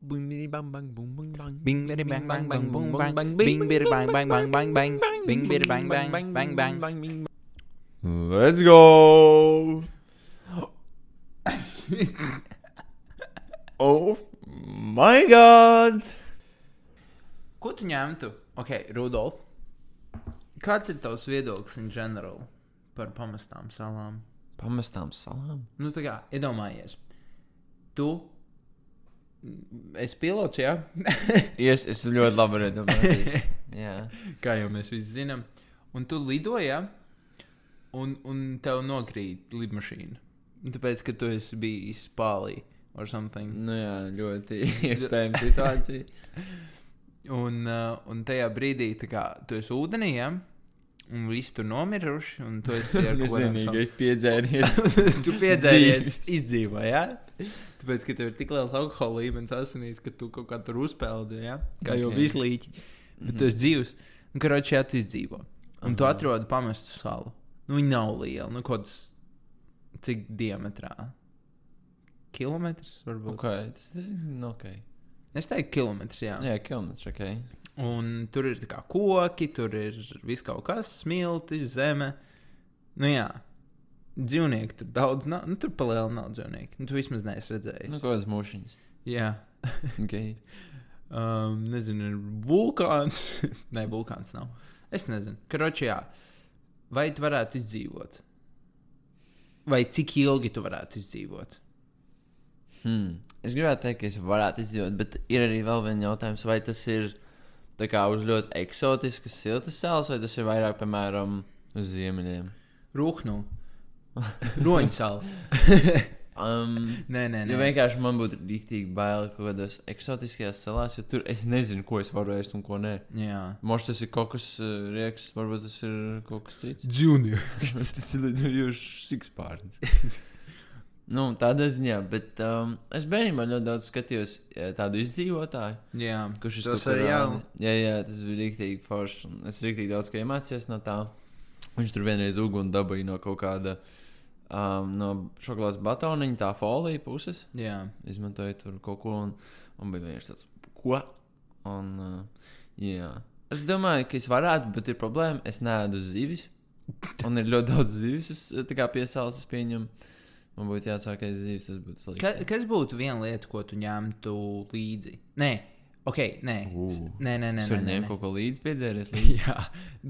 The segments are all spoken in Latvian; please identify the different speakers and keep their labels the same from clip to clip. Speaker 1: Bing bidi bang bang boom bing bang.
Speaker 2: Bing bidi bang bang bang bang bang
Speaker 1: bang
Speaker 2: Bing bidi bang bang bang bang bang Bing bidi bang bang bang bang
Speaker 1: bang.
Speaker 2: Let's go! oh my god! Ko tu ņemtu? Ok, Rudolf. Kāds ir tavs viedoklis in general par pamestām salām?
Speaker 1: Pamestām salām.
Speaker 2: Nu, tā kā iedomājies, tu esi pilots, jā?
Speaker 1: Yes, es ļoti labi redzu. Jā.
Speaker 2: Kā jau mēs visi zinām, un tu lidoji, ja? un, un tev nokrīt lidmašīna. Un Tāpēc, ka tu esi bijis Pālijā or something.
Speaker 1: Nu jā, ļoti iespējama situācija.
Speaker 2: Un, uh, un tajā brīdī, tā kā tu esi ūdenī, ja? un viss tur nomiruši, un tu esi ar
Speaker 1: Es
Speaker 2: kurām sa-
Speaker 1: vienīgais piedzēries.
Speaker 2: tu piedzēries,
Speaker 1: Dzīves.
Speaker 2: izdzīvoji. Ja? Tāpēc, ka tev ir tik liels alkohola līmenis asinīs, ka tu kaut kā tur uzpeldi, ja? kā okay. jau
Speaker 1: Ok. Mhm.
Speaker 2: vislīķi. Bet tu esi dzīves, un karoči, ja tu izdzīvo. Un tu
Speaker 1: Aha.
Speaker 2: atrodi pamestu salu. Nu, viņa nav liela, nu, kaut kas cik diametrā. Kilometrs varbūt.
Speaker 1: Ok, tas ir nu, ok.
Speaker 2: Es teiktu, kilometrs, jā.
Speaker 1: Jā, kilometrs, ok.
Speaker 2: Un tur ir tā kā koki, tur ir viss kaut kas, smilti, zeme. Nu, jā, dzīvnieki tur daudz nav. Nu, tur palielina nav dzīvnieki. Nu, tu vismaz neesi redzējis.
Speaker 1: Nu,
Speaker 2: Nu,
Speaker 1: kaut kāds mūšiņas.
Speaker 2: jā,
Speaker 1: Ok.
Speaker 2: um, nezinu, ir vulkāns. Nē, vulkāns nav. Es nezinu, karoči, jā. Vai tu varētu izdzīvot? Vai cik ilgi tu varētu izdzīvot?
Speaker 1: Hmm. Es gribētu teikt, ka es varētu izdzīvot, bet ir arī vēl viens jautājums, vai tas ir tā kā uz ļoti eksotiskas siltas salas, vai tas ir vairāk, piemēram, uz ziemeļiem.
Speaker 2: Rūknu. Roņsāli.
Speaker 1: Um,
Speaker 2: Nē, nē,
Speaker 1: jo
Speaker 2: nē.
Speaker 1: vienkārši man būtu rīktīgi bail kaut kādos eksotiskajās salās, jo tur es nezinu, ko es varu ēst un ko nē.
Speaker 2: Jā.
Speaker 1: Možda tas ir kaut kas uh, rieks, varbūt tas ir kaut kas cits.
Speaker 2: Dzīvnieki.
Speaker 1: tas ir lidojošs sikspārns. nu, tādā ziņā, bet um, es bērnībā ļoti daudz skatījos eh, tādu izdzīvotāju.
Speaker 2: Jā.
Speaker 1: Kurš ir
Speaker 2: To
Speaker 1: tas
Speaker 2: seriālu?
Speaker 1: seriāls? Jā, jā, tas bija rīktīgi forši. un Es rīktīgi daudz ko iemācījos no tā. Viņš tur vienreiz uguni dabūja no kaut kāda um, no šokolādes batoniņa, tā folija puses.
Speaker 2: Jā.
Speaker 1: Izmantoja tur kaut ko un, un bija vienkārši tāds, ko? Un, uh, jā. Es domāju, ka es varētu, bet ir problēma. Es nēdu zivis. Un ir ļoti daudz zivis, uz, tā kā piesāles es pieņemu. Man būtu jāsāk aiz zivis, tas būtu
Speaker 2: Ka,
Speaker 1: slikti.
Speaker 2: kas būtu viena lieta, ko tu ņemtu līdzi? Nē, ok, nē, S-
Speaker 1: Ū.
Speaker 2: nē, nē,
Speaker 1: Es
Speaker 2: nē, nē,
Speaker 1: varu
Speaker 2: nē,
Speaker 1: ņemt
Speaker 2: nē.
Speaker 1: kaut ko līdzi, piedzēries līdzi.
Speaker 2: Jā,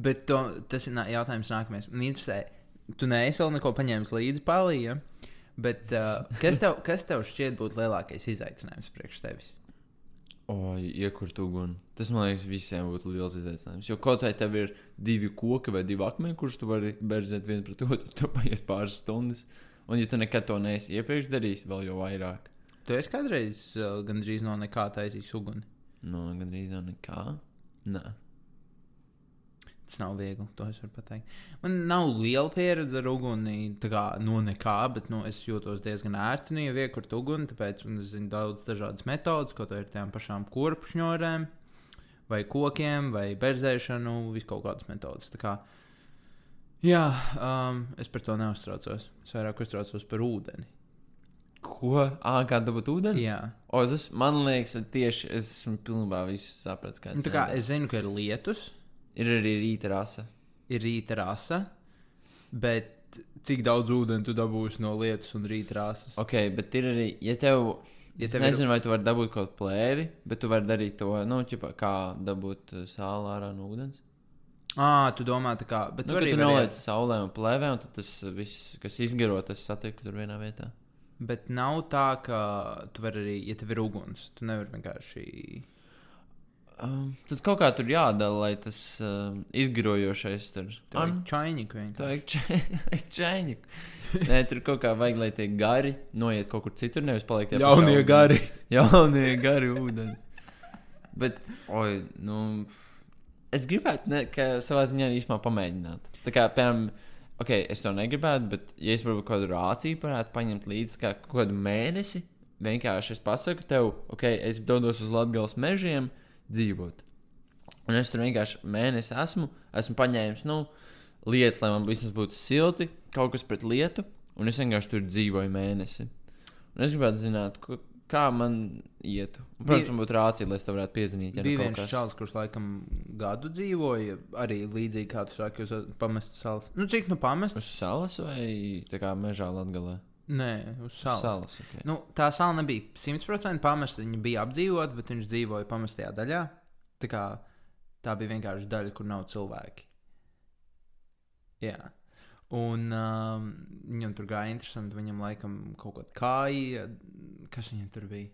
Speaker 2: bet to, tas ir nā- jautājums nākamais. Man interesē, tu neesi vēl neko paņēmis līdzi palīja, bet uh, kas, tev, kas tev šķiet būtu lielākais izaicinājums priekš tevis?
Speaker 1: Oi, iekurt uguni. Tas man liekas, visiem būtu liels izaicinājums. Jo kaut vai tev ir divi koki vai divi akmeņi, kurus tu vari berzēt viens pret otru, tu paies pāris stundas. Un, ja tu nekad to neesi iepriekš darījis, vēl jau vairāk.
Speaker 2: Tu esi kādreiz uh, gandrīz no nekā taisījis uguni.
Speaker 1: Nu, gandrīz jau nekā. Nē,
Speaker 2: Tas nav viegli, to es varu pateikt. Man nav liela pieredze ar uguni, tā kā no nekā, bet nu, es jūtos diezgan ērti, nu, ja iekurt uguni, tāpēc un es zinu daudz dažādas metodas, ko to ir tām pašām kurpšņorēm, vai kokiem, vai berzēšanu, vis kaut kādas metodas. Tā Kā, jā, um, es par to neuztraucos. Es vairāk uztraucos par ūdeni.
Speaker 1: ko? Ā, kā dabūt ūdeni?
Speaker 2: Jā,
Speaker 1: O, tas man liekas, tieši es esmu pilnībā visu sapratis.
Speaker 2: nu, tā kā es zinu, ka ir lietus,
Speaker 1: Ir arī rīta rasa.
Speaker 2: ir rīta rasa, bet cik daudz ūdeni tu dabūsi no lietus un rīta rasas?
Speaker 1: Ok, bet ir arī, ja tev. Ja
Speaker 2: Ja
Speaker 1: es
Speaker 2: tev ir-
Speaker 1: nezinu, ir... vai tu vari dabūt kaut kādu plēvi, bet tu vari darīt to, nu, ķipa, kā dabūt uh, sāli ārā no ūdens.
Speaker 2: Ah, tu domā, tā kā. Bet
Speaker 1: Nu,
Speaker 2: nu,
Speaker 1: tur
Speaker 2: arī
Speaker 1: arī
Speaker 2: noliec.
Speaker 1: noliec saulē un plēvē, un tad tas viss, kas izgaro, tas satiek tur vienā vietā.
Speaker 2: Bet nav tā, ka tu vari arī, ja tev ir uguns, tu nevari vienkārši.
Speaker 1: Um, tad kaut kā tur jādala, lai tas um, izgarojošais tur
Speaker 2: Tā ir čaņika
Speaker 1: Tā
Speaker 2: vienkārši.
Speaker 1: ir čēniņa. Nē, tur kaut kā vajag, lai tie gari noiet kaut kur citur, nevis paliek tie
Speaker 2: Jaunie gari.
Speaker 1: Jaunie gari ūdens. Bet, oi, nu, es gribētu, ne, ka savā ziņā īstenībā pamēģināt. Tā kā, piemēram, ok, es to negribētu, bet, ja es varbūt kādu rāciju varētu paņemt līdzi kā kaut kādu mēnesi, vienkārši es pasaku tev, ok, es dodos uz Latvijas mežiem dzīvot. Un es tur vienkārši mēnesi esmu, esmu paņēmis nu, lietas, lai man vismaz būtu silti, kaut kas pret lietu, un es vienkārši tur dzīvoju mēnesi. Un es gribētu zināt, ko, kā man ietu. Un, Protams, man būtu rācija, lai es tev varētu piezīmēt. Ja nu
Speaker 2: Bija
Speaker 1: kaut
Speaker 2: viens
Speaker 1: kas-
Speaker 2: čels, kurš laikam gadu dzīvoja, arī līdzīgi kā tu saki, uz uh, pamestas salas. Nu, cik nu
Speaker 1: Uz
Speaker 2: pamestas?
Speaker 1: salas vai tā kā mežā Latvijā?
Speaker 2: Nē, uz salas.
Speaker 1: Salas. Okay.
Speaker 2: Nu, tā sala nebija 100% pamesta. Viņa bija apdzīvota, bet viņš dzīvoja pamestajā daļā. Tā, kā, tā bija vienkārši daļa, kur nav cilvēki. Jā. Un um, viņam tur gāja interesanti. Viņam laikam kaut kāda kāja, kas viņam tur bija.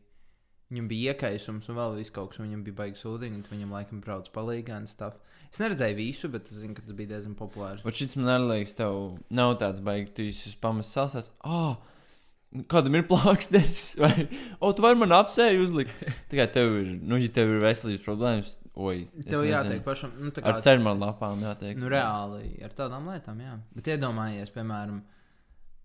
Speaker 2: Viņam bija iekaisums un vēl viss kaut kas, un viņam bija baigts ūdeņi. un Viņam laikam brauc palīgā un stuff. Es neredzēju visu, bet es zinu, ka tas bija diezgan populārs.
Speaker 1: Bet šis man arī liekas, tev nav tāds baigs, tu esi pamats sasās. Ah, kādam ir plāksnes, vai o, tu vari man apsēju uzlikt. Tikai tev ir, nu, ja tev ir veselības problēmas, oi. es
Speaker 2: Tev
Speaker 1: nezinu.
Speaker 2: jāteikt pašam, nu, tā kā
Speaker 1: Ar cermālu lapām jātiek.
Speaker 2: Nu, reāli ar tādām lietām, jā. Bet iedomājies, piemēram,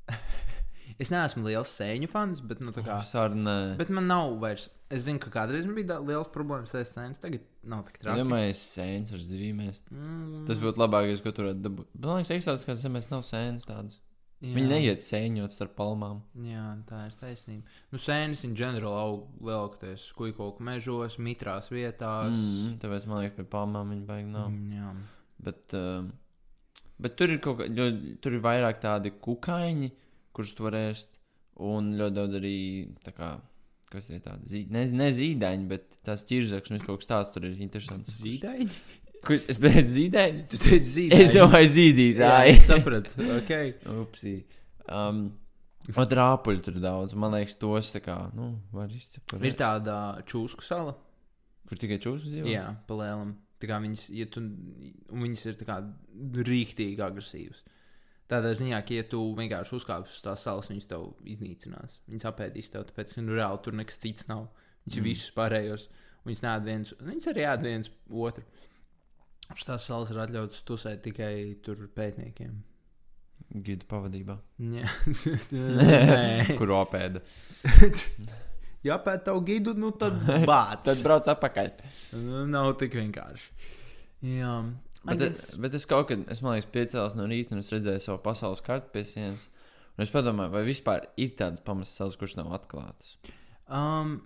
Speaker 2: es neesmu liels sēņu fans, bet, nu, tā kā,
Speaker 1: Sarunā.
Speaker 2: bet man nav vairs. Es zinu, ka kādreiz man bija da- liels problēmas ar sēņu, tagad nav tik traki.
Speaker 1: Domājis, Nu, sēnes ar zīmēm.
Speaker 2: Mm,
Speaker 1: Tas būtu labākais, ko tur varētu dabūt. Man liekas, eksotiskās zemēs nav sēnes tādas.
Speaker 2: jā.
Speaker 1: Viņi neiet sēņot starp palmām.
Speaker 2: Jā, tā ir taisnība. Nu, sēnes in general aug lielākoties skujkoku mežos, mitrās vietās.
Speaker 1: Mm, nu. tāpēc man liekas, pie palmām viņi baigi nav.
Speaker 2: Mm, jā.
Speaker 1: Bet, um, bet tur ir kaut kāda, tur ir vairāk tādi kukaiņi, kurus tu vari ēst. Un ļoti daudz arī, tā kā, kas tie tādi, zī, ne, ne zīdaiņi, bet tās ķirzaks un viss kaut kas tāds tur ir interesants.
Speaker 2: Zīdaiņi?
Speaker 1: Kurš es beidzu zīdaiņi?
Speaker 2: Tu teici zīdaiņi.
Speaker 1: Es domāju,
Speaker 2: Jā,
Speaker 1: zīdītāji.
Speaker 2: es sapratu. Okay.
Speaker 1: Upsi. Um, Ot rāpuļi tur ir daudz, man liekas, tos tā kā, nu, var izcepurēt.
Speaker 2: Ir tāda čūsku sala.
Speaker 1: Kur tikai čūsas dzīvo?
Speaker 2: Jā, palēlam. Tā kā viņas, ja tu, un viņas ir tā kā rīktīgi agresīvas. Tādā ziņā, ka, ja tu vienkārši uzkāpsi uz tās salas, viņas tev iznīcinās. Viņas apēdīs tev, tāpēc, ka nu, reāli tur nekas cits nav. Viņas mm. visus pārējos, un viņas nēd viens, un viņas arī ēd viens otru. Uz tās salas ir atļauts tusēt tikai tur pētniekiem.
Speaker 1: Gida pavadībā.
Speaker 2: Jā, nē.
Speaker 1: Kur opēda.
Speaker 2: Ja pēc tam gidu, nu tad bāc.
Speaker 1: Tad brauc apakaļ.
Speaker 2: Nu, Nav tik vienkārši. Jā,
Speaker 1: Bet,
Speaker 2: I
Speaker 1: es,
Speaker 2: guess.
Speaker 1: bet es kaut kad, es domāju, piecēlos no rīta un es redzēju savu pasaules kartu pie sienas. Un es padomāju, vai vispār ir tādas pamatas salas, kuras nav atklātas.
Speaker 2: Um,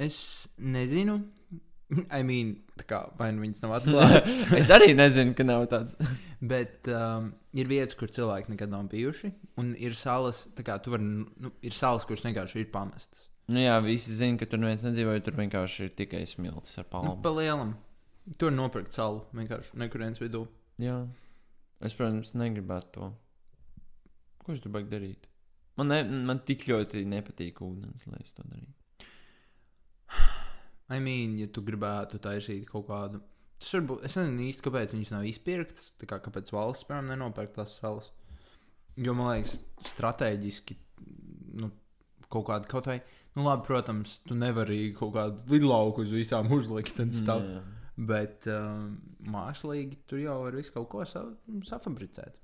Speaker 2: es nezinu. I mean, tā kā vai nu viņas nav atklātas,
Speaker 1: es arī nezinu, ka nav tādas.
Speaker 2: bet um, ir vietas, kur cilvēki nekad nav bijuši. Un ir salas, tā kā tu vari, nu, ir salas, kuras vienkārši ir pamestas.
Speaker 1: Nu jā, visi zina, ka tur neviens nedzīvo, jo tur vienkārši ir tikai smilts ar
Speaker 2: Nu,
Speaker 1: palmu.
Speaker 2: pa lielam. Tur nopirkt salu vienkārši nekurienes vidū.
Speaker 1: jā, es, protams, negribētu to. Ko es tur baigi darīt? Man, ne, man tik ļoti nepatīk ūdens, lai es to darītu.
Speaker 2: I mean, ja tu gribētu taisīt kaut kādu. Tas varbūt, es nezinu īsti, kāpēc viņas nav izpirktas. Tā kā kāpēc valsts, piemēram, nenopērk tās salas. Jo man liekas, strateģiski, nu, kaut kāda kaut vai. Nu, labi, protams, tu nevari kaut kādu lidlauku uz visām uzlikt un stāv.
Speaker 1: Jā.
Speaker 2: Bet um, mākslīgi tur jau var visu kaut ko sa safabricēt.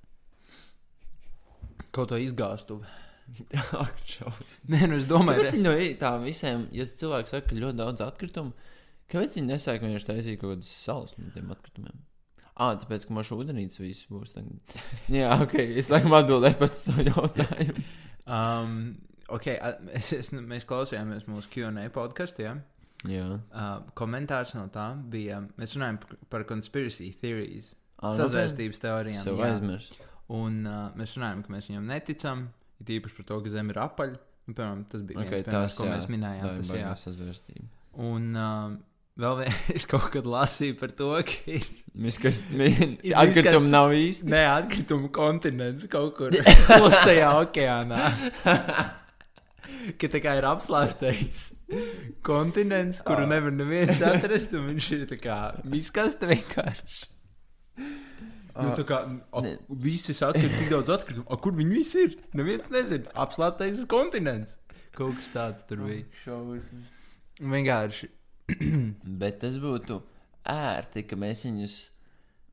Speaker 2: Kaut ko izgāstu.
Speaker 1: Ak, šausmas.
Speaker 2: Nē, nu es domāju,
Speaker 1: Kāpēc viņi no i- tām visiem, ja cilvēks saka, ka ļoti daudz atkritumu, kāpēc viņi nesaka, ka viņš taisīja kaut kādas salas no tiem atkritumiem? Ah, tāpēc, ka mašīna ūdenīca viss būs. Tagad. Jā, ok, es laikam atbildēju pats savu jautājumu.
Speaker 2: Um, okay, a- es, es, mēs klausījāmies mūsu QA podkāstiem.
Speaker 1: Jā,
Speaker 2: Uh, komentārs no tā bija. Mēs runājam par- par konspirācijas teorijas,
Speaker 1: Ah, nu,
Speaker 2: sazvērstības
Speaker 1: ok.
Speaker 2: teorijām.
Speaker 1: Sev
Speaker 2: jā.
Speaker 1: aizmirst.
Speaker 2: Un uh, mēs runājam, ka mēs viņam neticam. It īpaši par to, ka zeme ir apaļa. Nu, piemēram, tas bija viens
Speaker 1: Ok,
Speaker 2: piemērs,
Speaker 1: tas,
Speaker 2: ko
Speaker 1: jā.
Speaker 2: mēs minējām.
Speaker 1: Tā ir
Speaker 2: Tas,
Speaker 1: baigā
Speaker 2: jā.
Speaker 1: sazvērstība.
Speaker 2: Un uh, vēl vien- es kaut kad lasīju par to, ka ir
Speaker 1: Miskas,
Speaker 2: Ir
Speaker 1: atkritumi
Speaker 2: miskas-
Speaker 1: nav īsti.
Speaker 2: neatkritumu kontinents kaut kur klusajā okeānā. Ka tā kā ir apslēptais kontinents, kuru
Speaker 1: Ā.
Speaker 2: nevar neviens atrast, un viņš ir tā kā miskasta vienkārši. Nu, tā kā a,
Speaker 1: Ne.
Speaker 2: visi saka, ka ir tik daudz atkritumu. A, kur viņi visi ir? Neviens nezina. Apslēptais kontinents. Kaut kas tāds tur bija.
Speaker 1: Šausmas.
Speaker 2: Un Nu, Vienkārši.
Speaker 1: Bet tas būtu ērti, ka mēs viņus.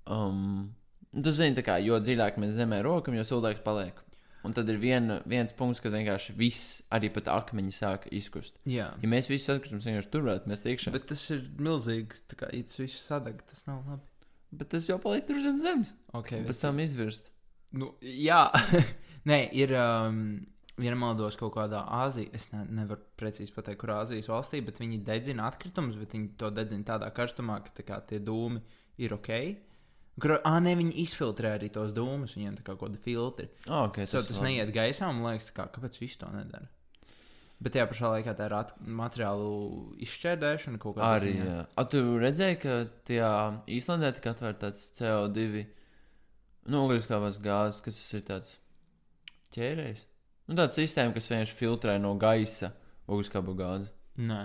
Speaker 1: Um, nu, tu zini, tā kā, jo dziļāk mēs zemē rokam, jo sūdzīgāk paliek. Un tad ir vien, viens punkts, kad vienkārši viss, arī pat akmeņi sāk izkust.
Speaker 2: Jā.
Speaker 1: Ja mēs visus atkritumus vienkārši turētu, mēs tiekšā. Bet,
Speaker 2: Bet tas ir milzīgs, tā kā it viss sadeg, tas nav labi.
Speaker 1: bet tas jau paliek tur zem zemes.
Speaker 2: Okay,
Speaker 1: Pēc tam izvirst.
Speaker 2: Nu, jā, nē, nu, ir um, ja nemaldos, kaut kādā Āzijā, es ne, nevaru precīzi pateikt, kur Āzijas valstī, bet viņi dedzina atkritumus, bet viņi to dedzina tādā karstumā, ka tā kā, tie dūmi ir ok. Kur, ā, ne, viņi izfiltrē arī tos dūmus, viņiem tā kā kaut kāda filtra.
Speaker 1: Oh, okay,
Speaker 2: Tas, tas
Speaker 1: labi.
Speaker 2: neiet gaisā, un man liekas, kā, kāpēc viņš to nedara? Bet tajā pašā laikā tā ir at, materiālu izšķērdēšana kaut kādā
Speaker 1: Arī.
Speaker 2: ziņā.
Speaker 1: Jā. A, tu redzēji, ka tajā Īslandē tika atvērts tāds CO2 nu, ogleskābās gāzes, kas tas ir tāds ķērējs. Nu, tāda sistēma, kas vienkārši filtrē no gaisa ogleskābu gāzi.
Speaker 2: Nē,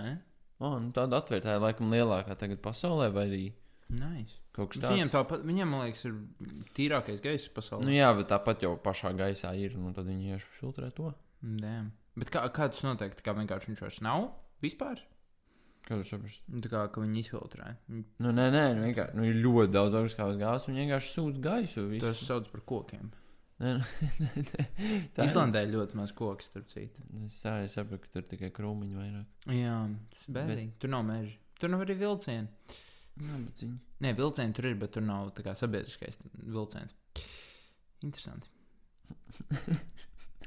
Speaker 1: Oh, nu, tāda atvērtā ir laikam lielākā tagad pasaulē, vai arī
Speaker 2: nice.
Speaker 1: kaut kas
Speaker 2: Bet Viņiem,
Speaker 1: tāds.
Speaker 2: tāpat, viņiem, man liekas, ir tīrākais gaisa pasaulē.
Speaker 1: Nu, jā, bet tāpat jau pašā gaisā ir, nu tad viņi vienkārši filtrē to.
Speaker 2: Damn. Bet kā, kā tas notiek? Tā kā vienkārši viņš vairs nav vispār?
Speaker 1: Kā tu saproti?
Speaker 2: Nu, Tā kā ka viņi izfiltrē. Viņi
Speaker 1: Nu, nē, nē, nu, vienkārši nu, ir ļoti daudz ogleskābās gāzes, un viņi vienkārši sūta gaisu. visu.
Speaker 2: to sauc par kokiem.
Speaker 1: Nē, nē, nē,
Speaker 2: Tā
Speaker 1: tā ir.
Speaker 2: Islandē ir ļoti maz koku, starp citu.
Speaker 1: Es arī saprotu, ka tur tikai krūmiņi vairāk.
Speaker 2: Jā, tas ir bēdīgi. Tur nav meža. Tur nav arī vilcieni.
Speaker 1: Jā, bet viņi.
Speaker 2: Nē, vilcieni tur ir, bet tur nav tā kā sabiedriskais vilciens. Interesanti.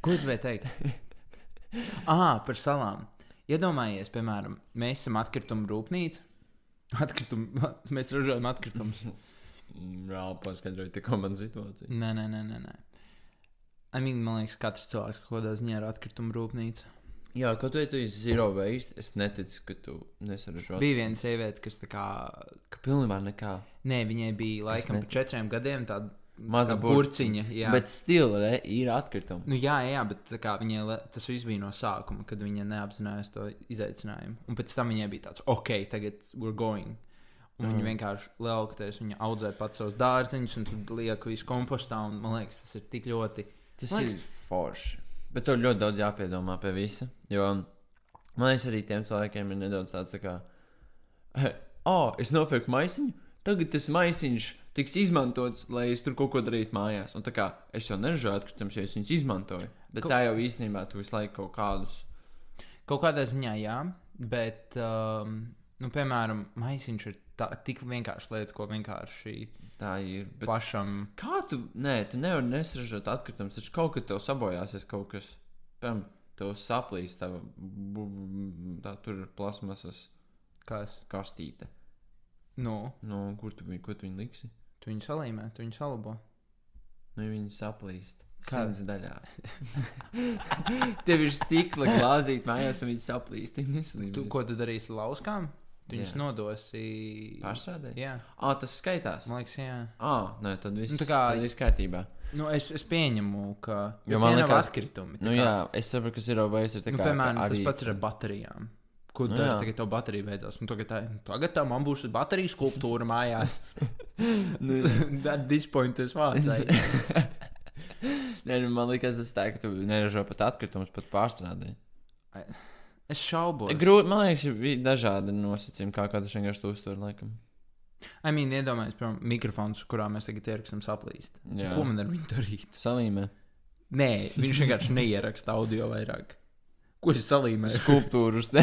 Speaker 2: Ko es vēl teiktu? Ah, par salām. Iedomājies, piemēram, mēs esam atkritumu rūpnīca. Atkritumu, mēs ražojam atkritumus.
Speaker 1: Mm, Reāli paskaidroju tikko manu situāciju.
Speaker 2: Nē, nē, nē, nē. nē. I mean, man liekas, katrs cilvēks kaut kādā ziņā ir atkritumu rūpnīca.
Speaker 1: Jā, ka tu esi zero waste, es neticu, ka tu nesaražo.
Speaker 2: Bija viena sieviete, kas tā kā.
Speaker 1: ka pilnībā nekā.
Speaker 2: Nē, viņai bija laikam
Speaker 1: neticu.
Speaker 2: par četriem gadiem tāda
Speaker 1: Maza
Speaker 2: tā burciņa. Jā.
Speaker 1: Bet stila, re, ir atkritumi.
Speaker 2: Nu, jā, jā, bet tā kā, viņai le- tas viss bija no sākuma, kad viņa neapzinājās to izaicinājumu. Un pēc tam viņai bija tāds, ok, tagad we're going. Un
Speaker 1: Mm.
Speaker 2: viņa vienkārši lielākoties, viņa audzē pats savus dārziņus, un tur liek visu kompostā. Un, man liekas, tas ir tik ļoti.
Speaker 1: Tas
Speaker 2: Man
Speaker 1: ir forši. Bet tur ļoti daudz jāpiedomā pie visa. Jo man liekas, arī tiem cilvēkiem ir nedaudz tāds, tā kā, oh, es nopirku maisiņu, tagad tas maisiņš tiks izmantots, lai es tur kaut ko darītu mājās. Un tā kā es jau neražoju atkritumus, ja es viņus izmantoju. Bet
Speaker 2: Ko-
Speaker 1: tā jau īstenībā tu visu laiku kaut kādus.
Speaker 2: Kaut kādā ziņā, jā, bet, um, nu, piemēram, maisiņš ir tā, tik vienkārši lieta, ko vienkārši
Speaker 1: Tā ir. Bet...
Speaker 2: pašam.
Speaker 1: Kā tu, nē, tu nevari nesražot atkritumus, taču kaut kad tev sabojāsies kaut kas. Piemēram, tev saplīs tava bu- bu- tā tur ir plasmasas
Speaker 2: Kas?
Speaker 1: kastīte.
Speaker 2: Nu,
Speaker 1: Nu, kur tu, viņu- ko tu viņu liksi?
Speaker 2: tu viņu salīmē, tu viņu salabo.
Speaker 1: Nu, ja viņi saplīst.
Speaker 2: Kā?
Speaker 1: Kādas daļās? Tev ir stikla glāzīta mājās, un viņi saplīst. Viņi neslīd.
Speaker 2: Tu, ko tu darīsi ar lauskām? Tu viņus
Speaker 1: Jā.
Speaker 2: nodosi.
Speaker 1: pārstrādē?
Speaker 2: Jā,
Speaker 1: Ā, tas skaitās.
Speaker 2: man liekas, jā.
Speaker 1: Ā, nē, tad viss
Speaker 2: Nu, tā
Speaker 1: nu,
Speaker 2: kā-
Speaker 1: kā... ir kārtībā.
Speaker 2: Nu, es, es pieņemu, ka
Speaker 1: Jo
Speaker 2: jo,
Speaker 1: man
Speaker 2: man ir
Speaker 1: liekas-
Speaker 2: atkritumi. tā
Speaker 1: Nu,
Speaker 2: kā-
Speaker 1: jā, es saprotu, kas ir obais.
Speaker 2: nu, piemēram, arī... tas pats ir ar baterijām. Ko
Speaker 1: Nu,
Speaker 2: tu dari
Speaker 1: jā.
Speaker 2: tagad, kad baterija beidzās? Nu, tagad, tā, nu, tagad tā man būs baterijas skulptūra mājās.
Speaker 1: Nu,
Speaker 2: Tad disappointed vārds.
Speaker 1: Nē, nu, man liekas, tas tā, ka tu neražo pat atkritumus, pat pārstrādē.
Speaker 2: Es šaubos.
Speaker 1: Grūti, man liekas, ir bija dažādi nosacījumi, kā katrs vienkārši to uztver, laikam.
Speaker 2: I mean, iedomājieties, piemēram, mikrofons, kurā mēs tagad ierakstām saplīst.
Speaker 1: Jā.
Speaker 2: Ko man ar viņu darīt?
Speaker 1: Salīmē.
Speaker 2: Nē, viņš vienkārši neieraksta audio vairāk. Ko es salīmēju?
Speaker 1: Skulptūrus.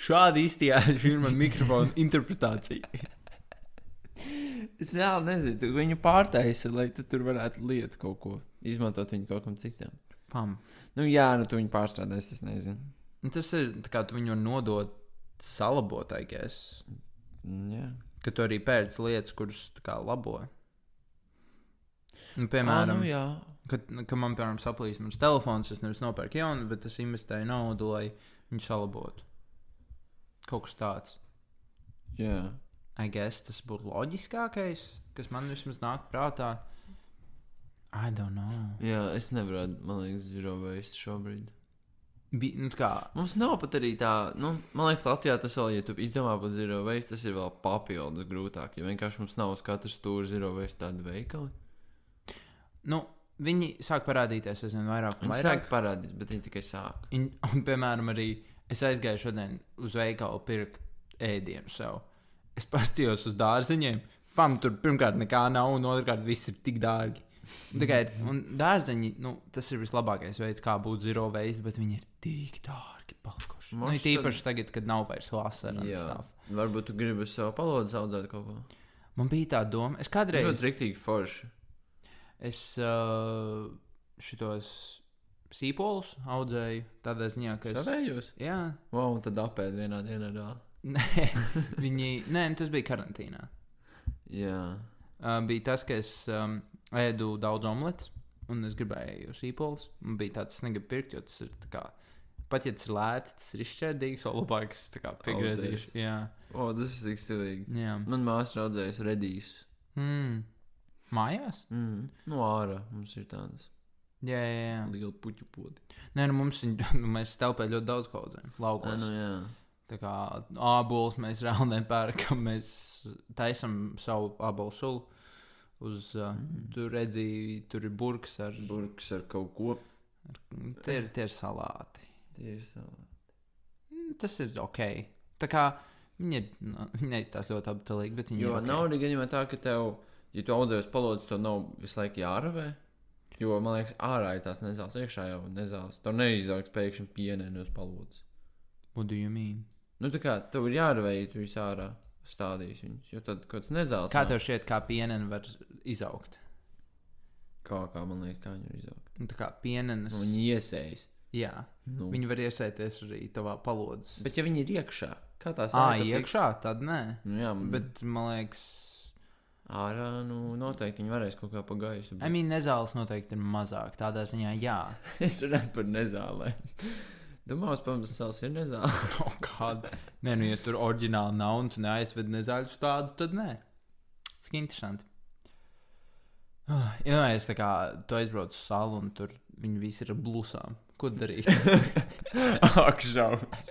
Speaker 2: Šādi iztiešām ir mana mikrofona interpretācija.
Speaker 1: Es reāli nezinu, tu viņu pārtaisa, lai tu tur varētu lietu kaut ko, izmantot viņu kaut kam citam.
Speaker 2: Fam.
Speaker 1: Nu, jā, nu tu viņu pārstrādāsi, es nezinu.
Speaker 2: Nu, Tas ir tā kā tu viņu nodod salabotājies,
Speaker 1: Mm, Jā,
Speaker 2: ka tu arī pēc lietas, kuras tā kā labo. Nu,
Speaker 1: Ā,
Speaker 2: piemēram,
Speaker 1: nu, jā.
Speaker 2: kad, kad man piemēram saplīs mans telefons, es nevis nopērku jaunu, bet es investēju naudu, lai viņu salabotu. Kaut kas tāds.
Speaker 1: jā.
Speaker 2: I guess tas būtu loģiskākais, kas man vismaz nāk prātā. I don't know.
Speaker 1: Jā, es nevaru, man liekas, zero waste šobrīd.
Speaker 2: Bi, nu, tā kā,
Speaker 1: Mums nav pat arī tā, nu, man liekas, Latvijā tas vēl, ja tu izdomā par zero waste, tas ir vēl papildus grūtāk, jo vienkārši mums nav uz katras stūra zero waste tāda veikala.
Speaker 2: nu, viņi sāk parādīties aizvien vairāk un
Speaker 1: Viņi
Speaker 2: vairāk.
Speaker 1: sāk parādīt, bet viņi tikai sāk.
Speaker 2: Un, un, piemēram, arī es aizgāju šodien uz veikalu pirkt ēdienu sev. Es paskatījos uz dārziņiem. Fam, tur pirmkārt nekā nav, un otrkārt viss ir tik dārgi. Un tā kā ir- Un dārzeņi, nu, tas ir vislabākais veids, kā būt zero veids, bet viņi ir tik dārgi palikuši. Nu,
Speaker 1: Mums
Speaker 2: it īpaši tagad, kad nav vairs vasara. un
Speaker 1: Jā.
Speaker 2: stuff.
Speaker 1: Varbūt tu gribi savu palodu audzēt kaut ko.
Speaker 2: Man bija tā doma, es
Speaker 1: Tas
Speaker 2: kādreiz.
Speaker 1: ļoti riktīgi forši.
Speaker 2: Es uh, šitos sīpolus audzēju. Tādā ziņā, ka es.
Speaker 1: Savējos?
Speaker 2: Jā,
Speaker 1: Wow, un tad apēd vienā dienā vēl.
Speaker 2: nē, viņi. Nē, nu, tas bija karantīnā.
Speaker 1: Jā.
Speaker 2: Uh, bija tas, ka es um, ēdu daudz omletes, un es gribēju sīpolus. Man bija tāds, es negribu pirkt, jo tas ir tā kā. Pat ja tas ir lēti, tas ir izšķērdīgs, vēl labāk es tā kā piegriezīšu. Jā,
Speaker 1: O, oh, tas ir tik stilīgi.
Speaker 2: jā.
Speaker 1: Man māsa raudzējas redīs.
Speaker 2: Mm. Mājās?
Speaker 1: Mm. No ārā mums ir tādas
Speaker 2: Jā, jā, jā.
Speaker 1: liela puķu podi.
Speaker 2: Nē, nu mums ir, nu, mēs telpējam ļoti daudz kaudzēm,
Speaker 1: Ai,
Speaker 2: laukos.
Speaker 1: nu, jā.
Speaker 2: Tā kā abolus mēs reāli nepērkam, mēs taisām savu abolu sulu. Uz, uh, mm. Tur redzēji, tur ir burks ar,
Speaker 1: Burks ar kaut ko.
Speaker 2: ar tie, ir, tie ir salāti.
Speaker 1: Tie ir savi.
Speaker 2: Mm, Tas ir ok. Tā kā viņi ir, nu, viņi neizstās ļoti aptalīgi, bet viņi
Speaker 1: Jo
Speaker 2: ir.
Speaker 1: okay.
Speaker 2: Okay.
Speaker 1: nav arī gadījumā tā, ka tev, ja tu audzējies palodus, to nav visu laiku jārāvē. Jo man liekas, ārā ir tās nezāles, iekšā jau nezāles. Tur neizaugs pēkšņi pienēnos palodus.
Speaker 2: What do you mean?
Speaker 1: Nu, tā kā tev ir jārāvē, ja tu visu ārā stādīsi viņus. Jo tad kaut kas nezāles.
Speaker 2: Kā
Speaker 1: nav.
Speaker 2: tev šķiet, kā pienene var izaugt?
Speaker 1: Kā, kā man liekas, kā viņi ir izaugti.
Speaker 2: Nu, tā kā pienenes.
Speaker 1: Nu, viņi iesējas.
Speaker 2: Jā,
Speaker 1: Nu.
Speaker 2: viņi var iesaistīties arī tavā palodas.
Speaker 1: Bet ja viņi ir iekšā, kā tās
Speaker 2: Ā,
Speaker 1: ēka tiks-
Speaker 2: iekšā, tad nē.
Speaker 1: Nu, jā, bet
Speaker 2: Bet man liekas,
Speaker 1: ārā, nu, noteikti viņi varēs kaut kā pagājuši.
Speaker 2: I mean, nezāles noteikti ir mazāk. Tādā ziņā, jā.
Speaker 1: Es runāju par nezālēm. Domāju, pamats savs ir nezāle.
Speaker 2: Oh, kāda. Nē, nu, ja tur oriģināli nav un tu neaizved nezāļu tādu, tad nē. Tas ir interesanti. Ah, Ja nu, es tā kā tu aizbraucu uz salu un tur viņi visi ir ar blusām. Ko darīt?
Speaker 1: Ak, šaubas.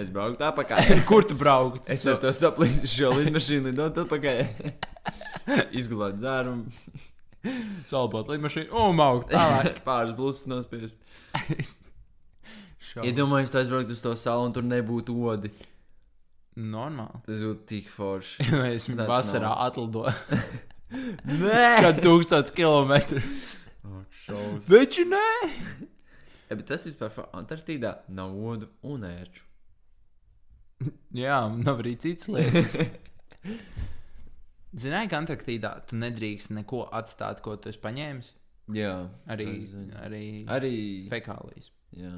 Speaker 1: Es braucu tāpat.
Speaker 2: Kur tu braukt?
Speaker 1: Es ar to saplīsu šo lidmašīnu, nu, lidot atpakaļ. Izgulēt dzērumu,
Speaker 2: salbot lidmašīnu un maukt tālāk.
Speaker 1: pāris blūzes nospiest.
Speaker 2: Šaubas.
Speaker 1: Iedomājieties, ja tu aizbrauktu uz to salu un tur nebūtu odi.
Speaker 2: Normāli.
Speaker 1: Tas būtu tik forši.
Speaker 2: Jo es
Speaker 1: Tāds
Speaker 2: vasarā
Speaker 1: nav.
Speaker 2: atlidoju
Speaker 1: Nē,
Speaker 2: kādu tūkstošu kilometru.
Speaker 1: šaubas.
Speaker 2: Taču nē!
Speaker 1: Bet tas vispār fa- Antarktīdā nav odu un ērču.
Speaker 2: Jā, nav arī citas lietas. Zināju, ka Antarktīdā tu nedrīkst neko atstāt, ko tu esi paņēmis.
Speaker 1: Jā,
Speaker 2: Arī,
Speaker 1: es zinu.
Speaker 2: arī,
Speaker 1: arī.
Speaker 2: fekālijas.
Speaker 1: Jā.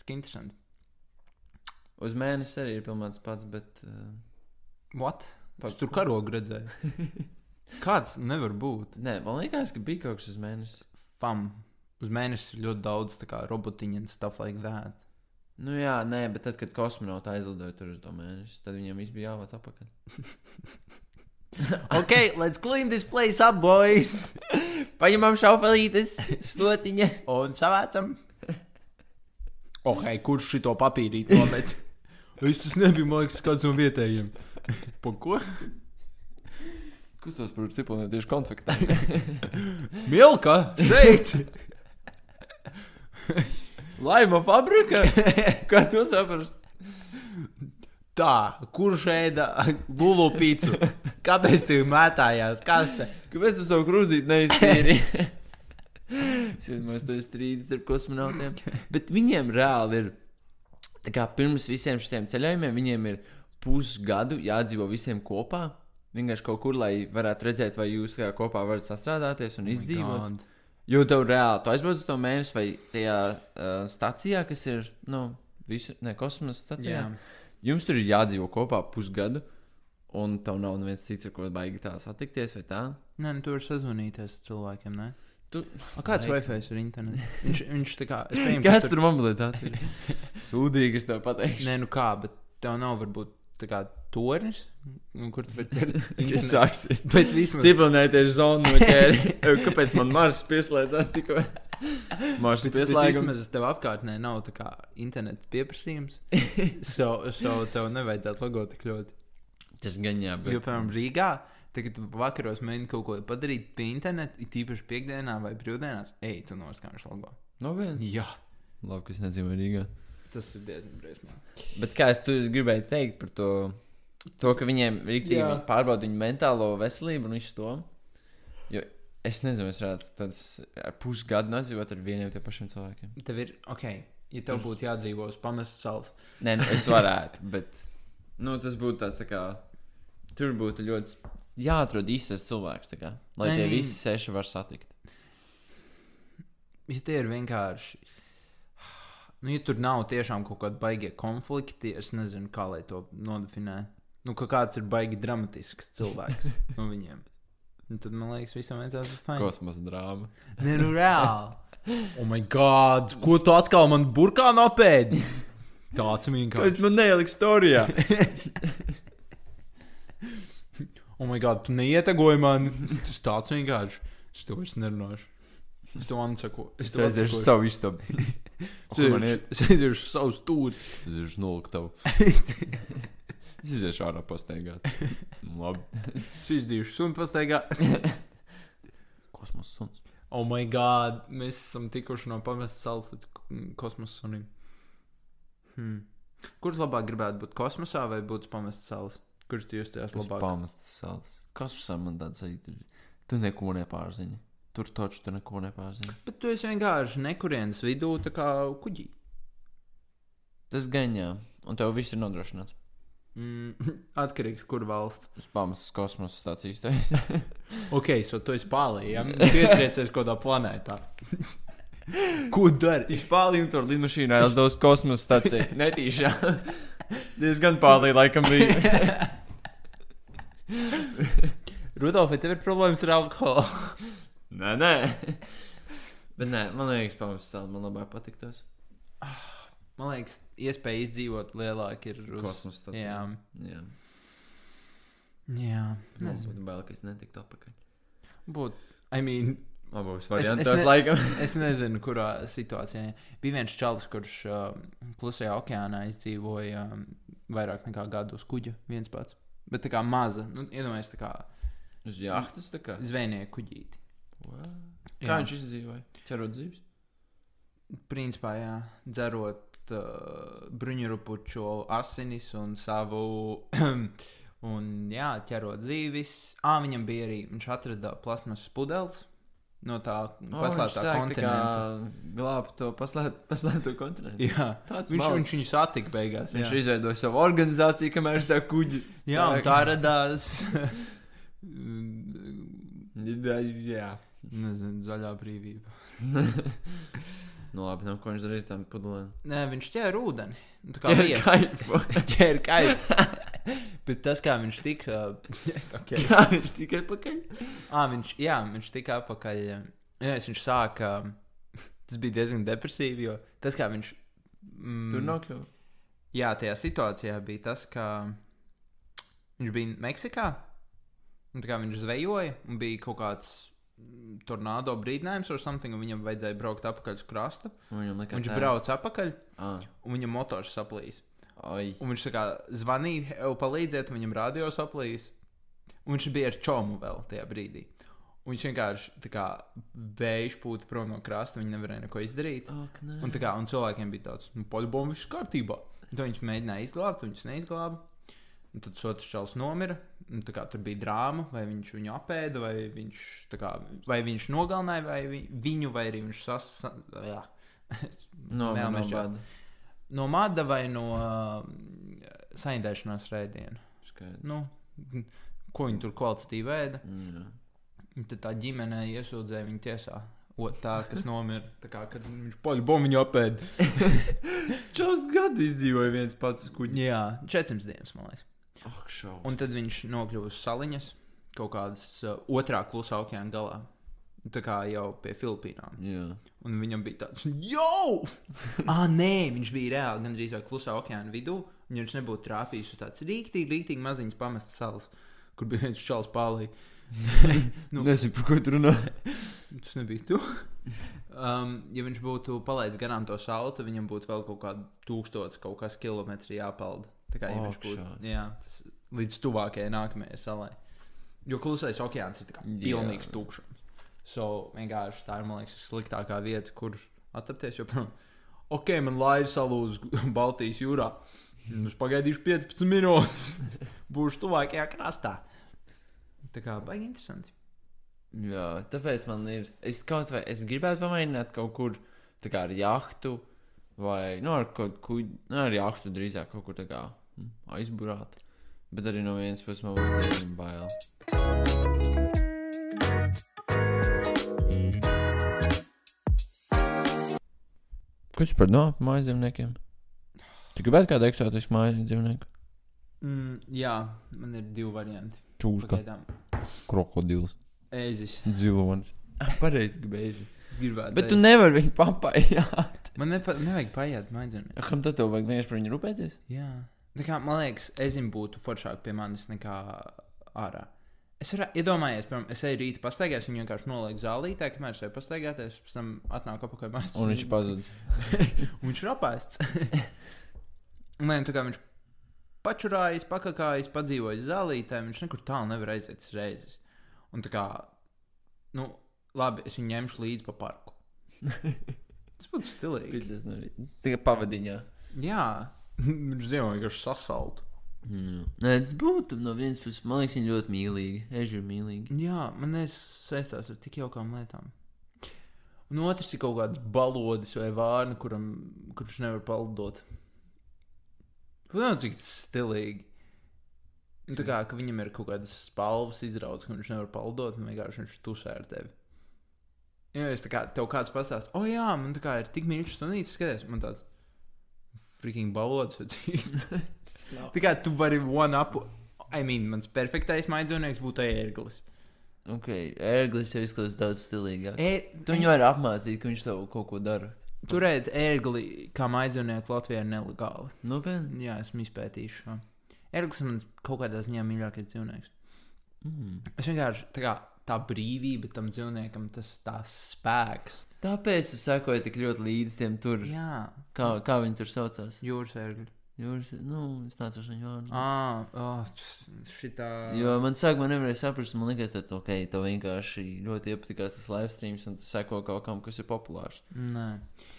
Speaker 2: Tas ir interesanti.
Speaker 1: Uz mēnesi arī ir pilnīgs pats, bet. Uh,
Speaker 2: What?
Speaker 1: Par-
Speaker 2: Es tur karogu redzēju. Kāds nevar būt?
Speaker 1: nē, man liekas, ka bija kaut kas uz mēnesi.
Speaker 2: Fam. Uz mēnesi ir ļoti daudz tā kā, robotiņu un stuff like that.
Speaker 1: Nu jā, nē, bet tad, kad kosmonauts aizlidoja tur uz to mēnesi, tad viņam viss bija jāvāc atpakaļ.
Speaker 2: Ok, let's clean this place up, boys!
Speaker 1: Paņemam šaufelītes, slotiņa.
Speaker 2: Un savācam. Ok, kurš šito papīrīt nomet? es tas nebiju, man liekas, kāds no vietējiem. Par ko?
Speaker 1: Kustos par ciprānu tieši konfliktā.
Speaker 2: Milka! Šeit!
Speaker 1: Laima fabrika! Kā to saprast?
Speaker 2: Tā, kurš ēda lulu pīcu? Kāpēc tu mētājās? Kas te?
Speaker 1: Kāpēc tu savu krūzīti neiztīri? Sēdamais tas strīds starp kosmonautiem. Bet viņiem reāli ir, tā kā pirms visiem šiem ceļojumiem, viņiem ir pusgadu jādzīvo visiem kopā. Vienkārši kaut kur, lai varētu redzēt, vai jūs kā kopā varat sastrādāties un izdzīvot.
Speaker 2: God.
Speaker 1: Jo tev reāli, tu aizbrauc uz to mēnesi vai tajā uh, stācijā, kas ir nu, visu, ne, kosmosa stācijā.
Speaker 2: Jā.
Speaker 1: Jums tur ir jādzīvo kopā pusgadu, un tev nav neviens cits, ar ko baigi tā satikties vai tā.
Speaker 2: Nē, nu, tu vari sazvanīties cilvēkiem, ne?
Speaker 1: Tu...
Speaker 2: A, kāds
Speaker 1: Vai-
Speaker 2: Wi-Fi ir internets? Viņš, viņš tā kā. Es pieņemu,
Speaker 1: Kas tur mobilitāte ir? Sūdīgi, es tev pateikšu.
Speaker 2: Nē, nu kā, bet tev nav varbūt tā kā tornis, nu, kur tu vari
Speaker 1: Kas
Speaker 2: dzirdēt.
Speaker 1: sāksies?
Speaker 2: Bet vismaz.
Speaker 1: Civilizēties zonu no ķēri. Kāpēc man Mars pieslēdzās tikko? Mars
Speaker 2: Bet
Speaker 1: pieslēgums.
Speaker 2: vismaz tev apkārtnē nav tā kā interneta pieprasījums. so, so tev nevajadzētu logot tik ļoti.
Speaker 1: Tas gan jā,
Speaker 2: Jo,
Speaker 1: bet.
Speaker 2: piemēram, Rīgā, tagad tu vakaros mēģini kaut ko padarīt pie interneta, it īpaši piekdienā vai brīvdienās, ej, tu noskaņoš logo.
Speaker 1: Nopietni.
Speaker 2: Jā,
Speaker 1: Labi, ka es nezinu, Rīgā.
Speaker 2: tas ir diezgan briesmīgi.
Speaker 1: Bet kā es tu es gribēju teikt par to, to ka viņiem rīktīgi
Speaker 2: Jā.
Speaker 1: viņi pārbauda viņu mentālo veselību un visu to. Jo es nezinu, es varētu tāds ar pusgadu nodzīvot ar vieniem tiem pašiem cilvēkiem.
Speaker 2: Tev ir, ok, ja tev būtu jādzīvo uz pamestas salas,
Speaker 1: Nē, nu, es varētu, bet nu, tas būtu tāds, tā kā, tur būtu ļoti sp- jāatrod īstais cilvēks, tā kā, lai
Speaker 2: Nē,
Speaker 1: tie
Speaker 2: nē.
Speaker 1: visi seši var satikt.
Speaker 2: ja tie ir vienkārši. Nu, ja tur nav tiešām kaut kāda baigta konflikti, es nezinu, kā lai to nodefinē. Nu, ka kāds ir baigi dramatisks cilvēks no viņiem. Nu, tad man liekas, visam vajadzētu būt fajn.
Speaker 1: Kosmosa drāma.
Speaker 2: Nē, nu reāli. Oh, my God! Ko tu atkal man burkā nopēdi? Tāds vienkārši.
Speaker 1: man neieliku storijā.
Speaker 2: Oh, my God! Tu neietegoji man. Tas tāds vienkārši. Es to vairs nerunāšu. Es to ansaku.
Speaker 1: Es
Speaker 2: tev
Speaker 1: aiziešu
Speaker 2: atsakošu.
Speaker 1: savu istabu. Kur man iet?
Speaker 2: Es aiziešu uz savu stūri.
Speaker 1: Es aiziešu noliktavu. Es aiziešu ārā pastaigāt. Nu, Labi.
Speaker 2: Es izdīšu sunu pastaigā.
Speaker 1: Kosmosa suns.
Speaker 2: Oh, my God! Mēs esam tikuši no pamestas salas līdz k- m, kosmosa sunim. Hmm. Kurš labāk gribētu būt kosmosā vai būt pamestas salas? Kurš tu jūties
Speaker 1: Tas
Speaker 2: labāk?
Speaker 1: pamestas salas. Kosmosā man tāds arī tur. Tu neko nepārzini. Tur taču tu neko nepārzini.
Speaker 2: Bet tu esi vienkārši nekurienes vidū, tā kā kuģī.
Speaker 1: Tas gaņā. Un tev viss ir nodrošināts.
Speaker 2: Mm, atkarīgs, kur valsts.
Speaker 1: Es pamestas kosmosa stācijas taisa.
Speaker 2: Ok, so tu esi pārējām. Ja? Nu, Tu ietriecies kaut kādā planētā. Ko dari?
Speaker 1: Tieši pārlīm tur lidmašīnā aizdos kosmosa stācija. Netīšā. Diezgan pārlī laikam bija.
Speaker 2: Rudolf, vai tev ir problēmas ar alkoholu?
Speaker 1: nē, nē. Bet nē, man liekas, pamestas salas man labāk patiktos.
Speaker 2: Man liekas, iespēja izdzīvot lielāk ir uz
Speaker 1: Kosmosa
Speaker 2: Jā,
Speaker 1: stācija. Jā.
Speaker 2: jā.
Speaker 1: Man
Speaker 2: Nezinu.
Speaker 1: būtu bail, ka es netiktu apakaļ.
Speaker 2: Būtu. I mean,
Speaker 1: Abos
Speaker 2: es
Speaker 1: variantos
Speaker 2: ne-
Speaker 1: laikam.
Speaker 2: es nezinu, kurā situācijā. Bija viens čalis, kurš uh, klusajā okeānā izdzīvoja um, vairāk nekā gadu uz kuģa viens pats. Bet tā kā maza, nu, iedomājieties, tā kā
Speaker 1: Uz jahtas tā kā.
Speaker 2: zvejnieka kuģīti.
Speaker 1: Kā viņš izdzīvoja? Cerot dzīves?
Speaker 2: Principā, jā, dzerot uh, bruņurupuču asinis un savu. un, jā, ķerot dzīvis. Ah, viņam bija arī. Viņš atrada plasmasas pudeles no tā
Speaker 1: Nu,
Speaker 2: paslēptā kontinenta.
Speaker 1: glābt to paslēp- paslēpto kontinentu.
Speaker 2: Jā,
Speaker 1: Tāds
Speaker 2: viņš,
Speaker 1: malks.
Speaker 2: viņš viņu satika beigās.
Speaker 1: Viņš
Speaker 2: jā.
Speaker 1: izveidoja savu organizāciju, kamēr viņš tā kuģi.
Speaker 2: jā, un
Speaker 1: sāk-
Speaker 2: tā radās.
Speaker 1: Jā, Jā.
Speaker 2: Nezinu, zaļā brīvība.
Speaker 1: Nu labi, nu ko viņš darīja tam pudelēm?
Speaker 2: Nē, viņš ķēra ūdeni. Nu, Tā kā
Speaker 1: Ķēra
Speaker 2: bija
Speaker 1: kaifu.
Speaker 2: ķēra kaita. Bet tas, kā viņš tika. okay.
Speaker 1: Kā viņš tikai pakaļ?
Speaker 2: À, viņš, jā, viņš tika apakaļ. Jā, es- viņš sāka. Tas bija diezgan depresīvi, jo tas, kā viņš. Mm,
Speaker 1: Tur nokļuva.
Speaker 2: Jā, tajā situācijā bija tas, ka viņš bija Meksikā. un tā kā Viņš zvejoja un bija kaut kāds mm, tornado brīdinājums vai something, un viņam vajadzēja braukt apakaļ uz krastu.
Speaker 1: Un Nu, Viņam likās,
Speaker 2: Viņš
Speaker 1: tā-
Speaker 2: brauca apakaļ,
Speaker 1: Ā.
Speaker 2: un viņam motors saplīs.
Speaker 1: Oi.
Speaker 2: Un viņš tā kā zvanīja, jau palīdziet, un viņam rādījos aplīs. Un viņš bija ar čomu vēl tajā brīdī. Un viņš vienkārši tā kā vējš pūta prom no krasta, viņi nevarēja neko izdarīt.
Speaker 1: Ak, nē.
Speaker 2: Un, tā kā, un cilvēkiem bija tāds, nu, poļbomba viss kārtībā. Un Tad viņš mēģināja izglābt, un viņš neizglāba. Un tad otrs čels nomira. Un, tā kā, tur bija drāma, vai viņš viņu apēda, vai viņš, tā kā, vai viņš nogalināja vai vi- viņu, vai arī viņš sasprāstīja.
Speaker 1: No, no, no bada.
Speaker 2: no mada vai no uh, saindēšanās rēdiena.
Speaker 1: Skaidrs. Mm,
Speaker 2: Nu, ko viņi tur kvalitatīvi ēda?
Speaker 1: Jā.
Speaker 2: Un Tad tā ģimene iesūdzēja viņu tiesā. O, tā, kas nomira, tā kā, kad viņš poļbombu viņu apēda.
Speaker 1: Čels gadu izdzīvoja viens pats kuģi.
Speaker 2: Jā, 400 dienas, man liekas.
Speaker 1: Ak, šau.
Speaker 2: Un tad viņš nokļuva uz saliņas kaut kādas uh, otrā klusā okeāna galā. Tā kā jau pie Filipīnām.
Speaker 1: Jā.
Speaker 2: Un viņam bija tāds, jo! ah, nē, viņš bija reāli gandrīz vai klusā okeāna vidū. un Ja viņš nebūtu trāpījis uz tādas rīktīgi, rīktīgi maziņas pamestas salas, kur bija viens čels pālī.
Speaker 1: Nu.
Speaker 2: Nu.
Speaker 1: Nezinu, par ko tu runā.
Speaker 2: Tas nebija tu. um, ja viņš būtu palaidis garām to salu, tad viņam būtu vēl kaut kāda tūkstotis kaut kas kilometri jāpelda. Tā kā ja viņš būtu
Speaker 1: Okšā.
Speaker 2: jā, tas, līdz tuvākajai nākamajai salai. Jo klusais okeāns ir tā kā
Speaker 1: Jā.
Speaker 2: pilnīgs tukšums. So, vienkārši tā ir man liekas, sliktākā vieta, kur atrapties. Jo, piemēram, ok, man laivas salūz Baltijas jūrā. Es pagaidīšu 15 minūtes. Būšu tuvākajā krastā. Tā kā baigi interesanti.
Speaker 1: Jā, tāpēc man ir. Es kaut vai es gribētu pamēģināt kaut kur tā kā ar jahtu, vai nu, ar kaut ko nu, ar jahtu drīzāk kaut kur tā kā mm, aizburāt. Bet arī no vienas puses man būtu diezgan bail. Ko tu par no mājas dzīvniekiem? Tu gribētu kādu eksotisku mājas dzīvnieku?
Speaker 2: Mm, jā, man ir divi varianti.
Speaker 1: Čūska,
Speaker 2: Pagaidām.
Speaker 1: krokodils,
Speaker 2: Ēzis.
Speaker 1: zilonis. Pareizi gribēji.
Speaker 2: Es gribētu.
Speaker 1: Bet tu
Speaker 2: ēzis.
Speaker 1: nevari viņu papaiet.
Speaker 2: Man nepa, nevajag paiet maģiski.
Speaker 1: Kam tad tev vajag vienkārši par viņu rūpēties?
Speaker 2: Jā. Tā kā man liekas, ezim būtu foršāk pie manis nekā ārā. Es varu iedomājies, piemēram, es eju rītā pastaigājos, viņu vienkārši nolieku zālītē, kamēr es eju pastaigāties, pēc tam atnāk apakaļ mājās.
Speaker 1: Un viņš ir pazudis.
Speaker 2: Un viņš ir apēsts. Nē, tā kā viņš pačurājas, pakakājas, padzīvojas zālītē, viņš nekur tālu nevar aiziet uz reizes. Un tā kā, nu, labi, es viņu ņemšu līdzi pa parku. Tas būtu stilīgi.
Speaker 1: Piecas no rīta. Tikai pavadiņā.
Speaker 2: Jā, viņš zina, ka viņš sasalt.
Speaker 1: Mm. Nē, tas būtu no vienas puses. Man liekas, viņa ļoti mīlīga. Eži ir mīlīga.
Speaker 2: Jā, man nesaistās ar tik jaukām lietām. Un otrs ir kaut kāds balodis vai vārna, kuram, kurš nevar palidot. Protams, cik tas stilīgi. Nu, tā kā ka viņam ir kaut kādas spalvas izraudzes, ka viņš nevar palidot, un vienkārši viņš tusē ar tevi. Jā, es tā kā tev kāds pastāst, o jā, man tā kā ir tik mīļš sunīts, skaties, man tāds freaking balodis vai cik. tā kā tu vari one up, I mean, mans perfektais maidzīvnieks būtu ērglis.
Speaker 1: Ok, ērglis jau izskatās daudz stilīgāk.
Speaker 2: E,
Speaker 1: Tu viņu vari apmācīt, ka viņš tev kaut ko dara.
Speaker 2: Turēt ērgli kā maiznieku Latvijā ir nelegāli.
Speaker 1: Nopietni.
Speaker 2: Jā, esmu izpētījis šo. Ērglis ir mans kaut kādā ziņā mīļākais dzīvnieks.
Speaker 1: Mm.
Speaker 2: Es vienkārši tā, kā, tā brīvība tam dzīvniekam, tas tās spēks.
Speaker 1: Tāpēc tu sekoji tik ļoti līdzi tiem tur.
Speaker 2: Jā,
Speaker 1: Kā, kā viņi tur saucās?
Speaker 2: jūras ērgli.
Speaker 1: Jūras, nu, es nācu ar viņu vārdu.
Speaker 2: Ah, oh, šitā.
Speaker 1: Jo man sākumā nevarēja saprast, man liekas, tas ok, tev vienkārši ļoti iepatikās tas live streams, un tas seko kaut kam, kas ir populārs.
Speaker 2: Nē,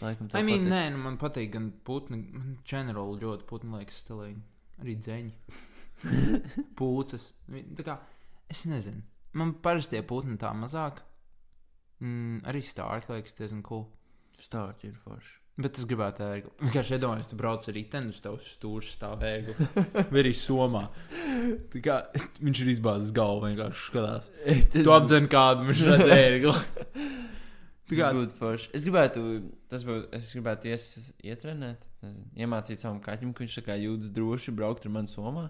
Speaker 1: Laikam, tev
Speaker 2: I mean,
Speaker 1: patīk.
Speaker 2: nē nu, man patīk gan putni, man ģenerāli ļoti putni liekas stilīgi. Arī dzēņi. Pūces. Vi- Tā kā, es nezinu. Man parasti tie putni tā mazāk. Mm, arī stārķi liekas diezgan cool.
Speaker 1: Stārķi ir forši.
Speaker 2: Bet es gribētu ērgli. Vienkārši iedomājos, tu brauc ar riteni uz tavas stūres, stāv ērglis. Vai arī somā. Tā kā, viņš ir izbāzis galvu vienkārši skatās.
Speaker 1: Tas
Speaker 2: Tu apdzen kādu, viņš redz ērgli.
Speaker 1: tas
Speaker 2: kā-
Speaker 1: būtu forši. Es gribētu, tas būtu, es gribētu ies, ietrenēt, nezinu, iemācīt savam kaķim, ka viņš tā kā jūtas droši braukt ar mani somā,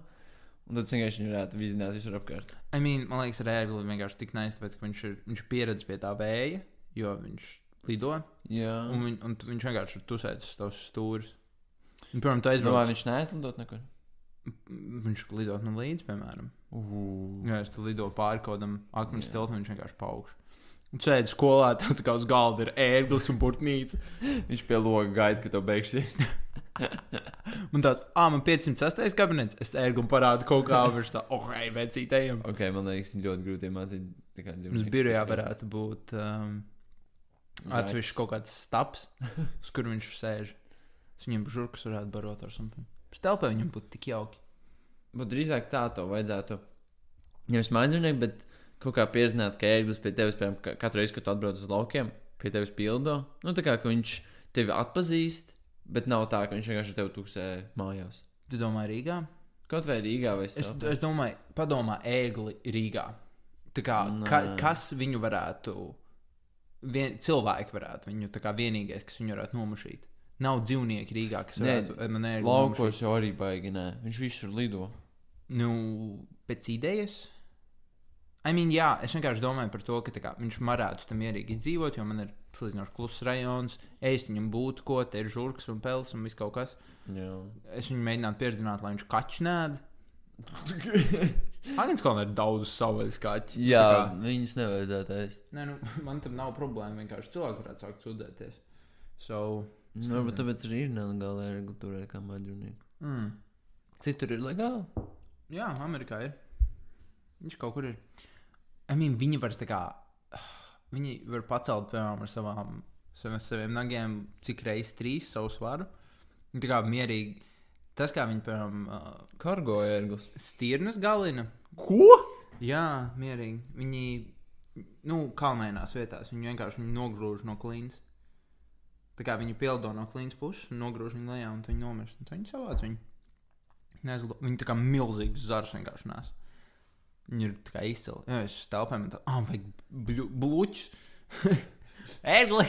Speaker 1: un tad es vienkārši viņu varētu vizināt visur apkārt.
Speaker 2: I mean, man liekas, Rēglis vienkārši tik nē, tāpēc, ka viņš ir, viņš ir pieredzējis pie tā vēja, jo viņš lido.
Speaker 1: Jā.
Speaker 2: Un, viņ, un tu- viņš vienkārši tur tusējas uz tavas stūres. Un, Piemēram, tu
Speaker 1: Domāju,
Speaker 2: aizbrauc.
Speaker 1: viņš neaizlidot nekur.
Speaker 2: m- Viņš lido man līdzi, piemēram.
Speaker 1: Uh.
Speaker 2: Jā, es tur lidoju pāri kaut kādam akmens
Speaker 1: Jā.
Speaker 2: tiltam, un viņš vienkārši paugš. Un sēdi skolā, tev tā kā uz galda ir ērglis un burtnīca.
Speaker 1: Viņš pie loga gaida, ka tev beigsies.
Speaker 2: Un tāds, ah, man 506. kabinets, es ērgu un parādu kaut kā, un viņš tā, ok, vecītējiem.
Speaker 1: ok, man liekas, ļoti grūti iemācīt. tā kā
Speaker 2: Mums
Speaker 1: dzīvniekus
Speaker 2: birojā
Speaker 1: patīk.
Speaker 2: varētu būt um,
Speaker 1: Zaķis.
Speaker 2: atsevišķi kaut kāds stabs, uz kur viņš sēž. Es viņam žurkas varētu barot ar something. Stelpē viņam būtu tik jauki.
Speaker 1: Būtu drīzāk tā, to vajadzētu. Nevis mājdzīvnieku, bet kaut kā pierādīt, ka ērglis pie tevis, piemēram, ka- katru reizi, kad tu atbrauc uz laukiem, pie tevis pildo. Nu, tā kā ka viņš tevi atpazīst, bet nav tā, ka viņš vienkārši tevi tuksē mājās.
Speaker 2: Tu domā Rīgā?
Speaker 1: Kaut vai Rīgā vai
Speaker 2: Es,
Speaker 1: Stāvā.
Speaker 2: es domāju, padomā ēgli Rīgā. Tā kā, ka,
Speaker 1: Nē.
Speaker 2: kas viņu varētu, vien, cilvēki varētu viņu, tā kā vienīgais, kas viņu varētu nomušīt. Nav dzīvnieki Rīgā, kas
Speaker 1: Nē,
Speaker 2: varētu eh, man ērgli nomušīt.
Speaker 1: Laukos jau arī baigi, nē. Viņš visur lido.
Speaker 2: Nu, pēc idejas. I mean, jā, es vienkārši domāju par to, ka tā kā, viņš varētu tam mierīgi izdzīvot, jo man ir salīdzinoši kluss rajons, ēst viņam būtu ko, te ir žurks un pels un viss kaut kas.
Speaker 1: Jā.
Speaker 2: Es viņu mēģinātu pieredzināt, lai viņš kaķis nēd. Agnēs ir daudz savas kaķis.
Speaker 1: Jā, viņus nevajadzētu aizsākt.
Speaker 2: Nē, nu, man tam nav problēma. Vienkārši cilvēki varētu sākt sūdzēties. So, Es
Speaker 1: Varbūt Nu, tāpēc arī ir nelegāli ērgli turēt kā mājdzīvnieku.
Speaker 2: mm,
Speaker 1: Citur ir legāli.
Speaker 2: jā, Amerikā ir. Viņš kaut kur ir. I mean, viņi var tā kā. Viņi var pacelt, piemēram, ar savām, saviem, saviem nagiem, cik reizes trīs savu svaru. Un Tā kā mierīgi. Tas, kā viņi, piemēram, uh,
Speaker 1: Kargo ērglis.
Speaker 2: stirnas galina.
Speaker 1: Ko?
Speaker 2: Jā, mierīgi. Viņi, nu, kalnēnās vietās. Viņi vienkārši viņu nogrūž no klīnas. Tā kā viņi pildo no klīnas puses, un nogrūž viņu lejā, un tad viņi nomirst. Un tad viņi savāc viņu. Nezlo... Viņi tā kā milzīgs zars vienkārši nās. Viņi ir tā kā izcili. Jā, es stelpēju, man tā, ah, vajag bļu- bluķus. Ērgli!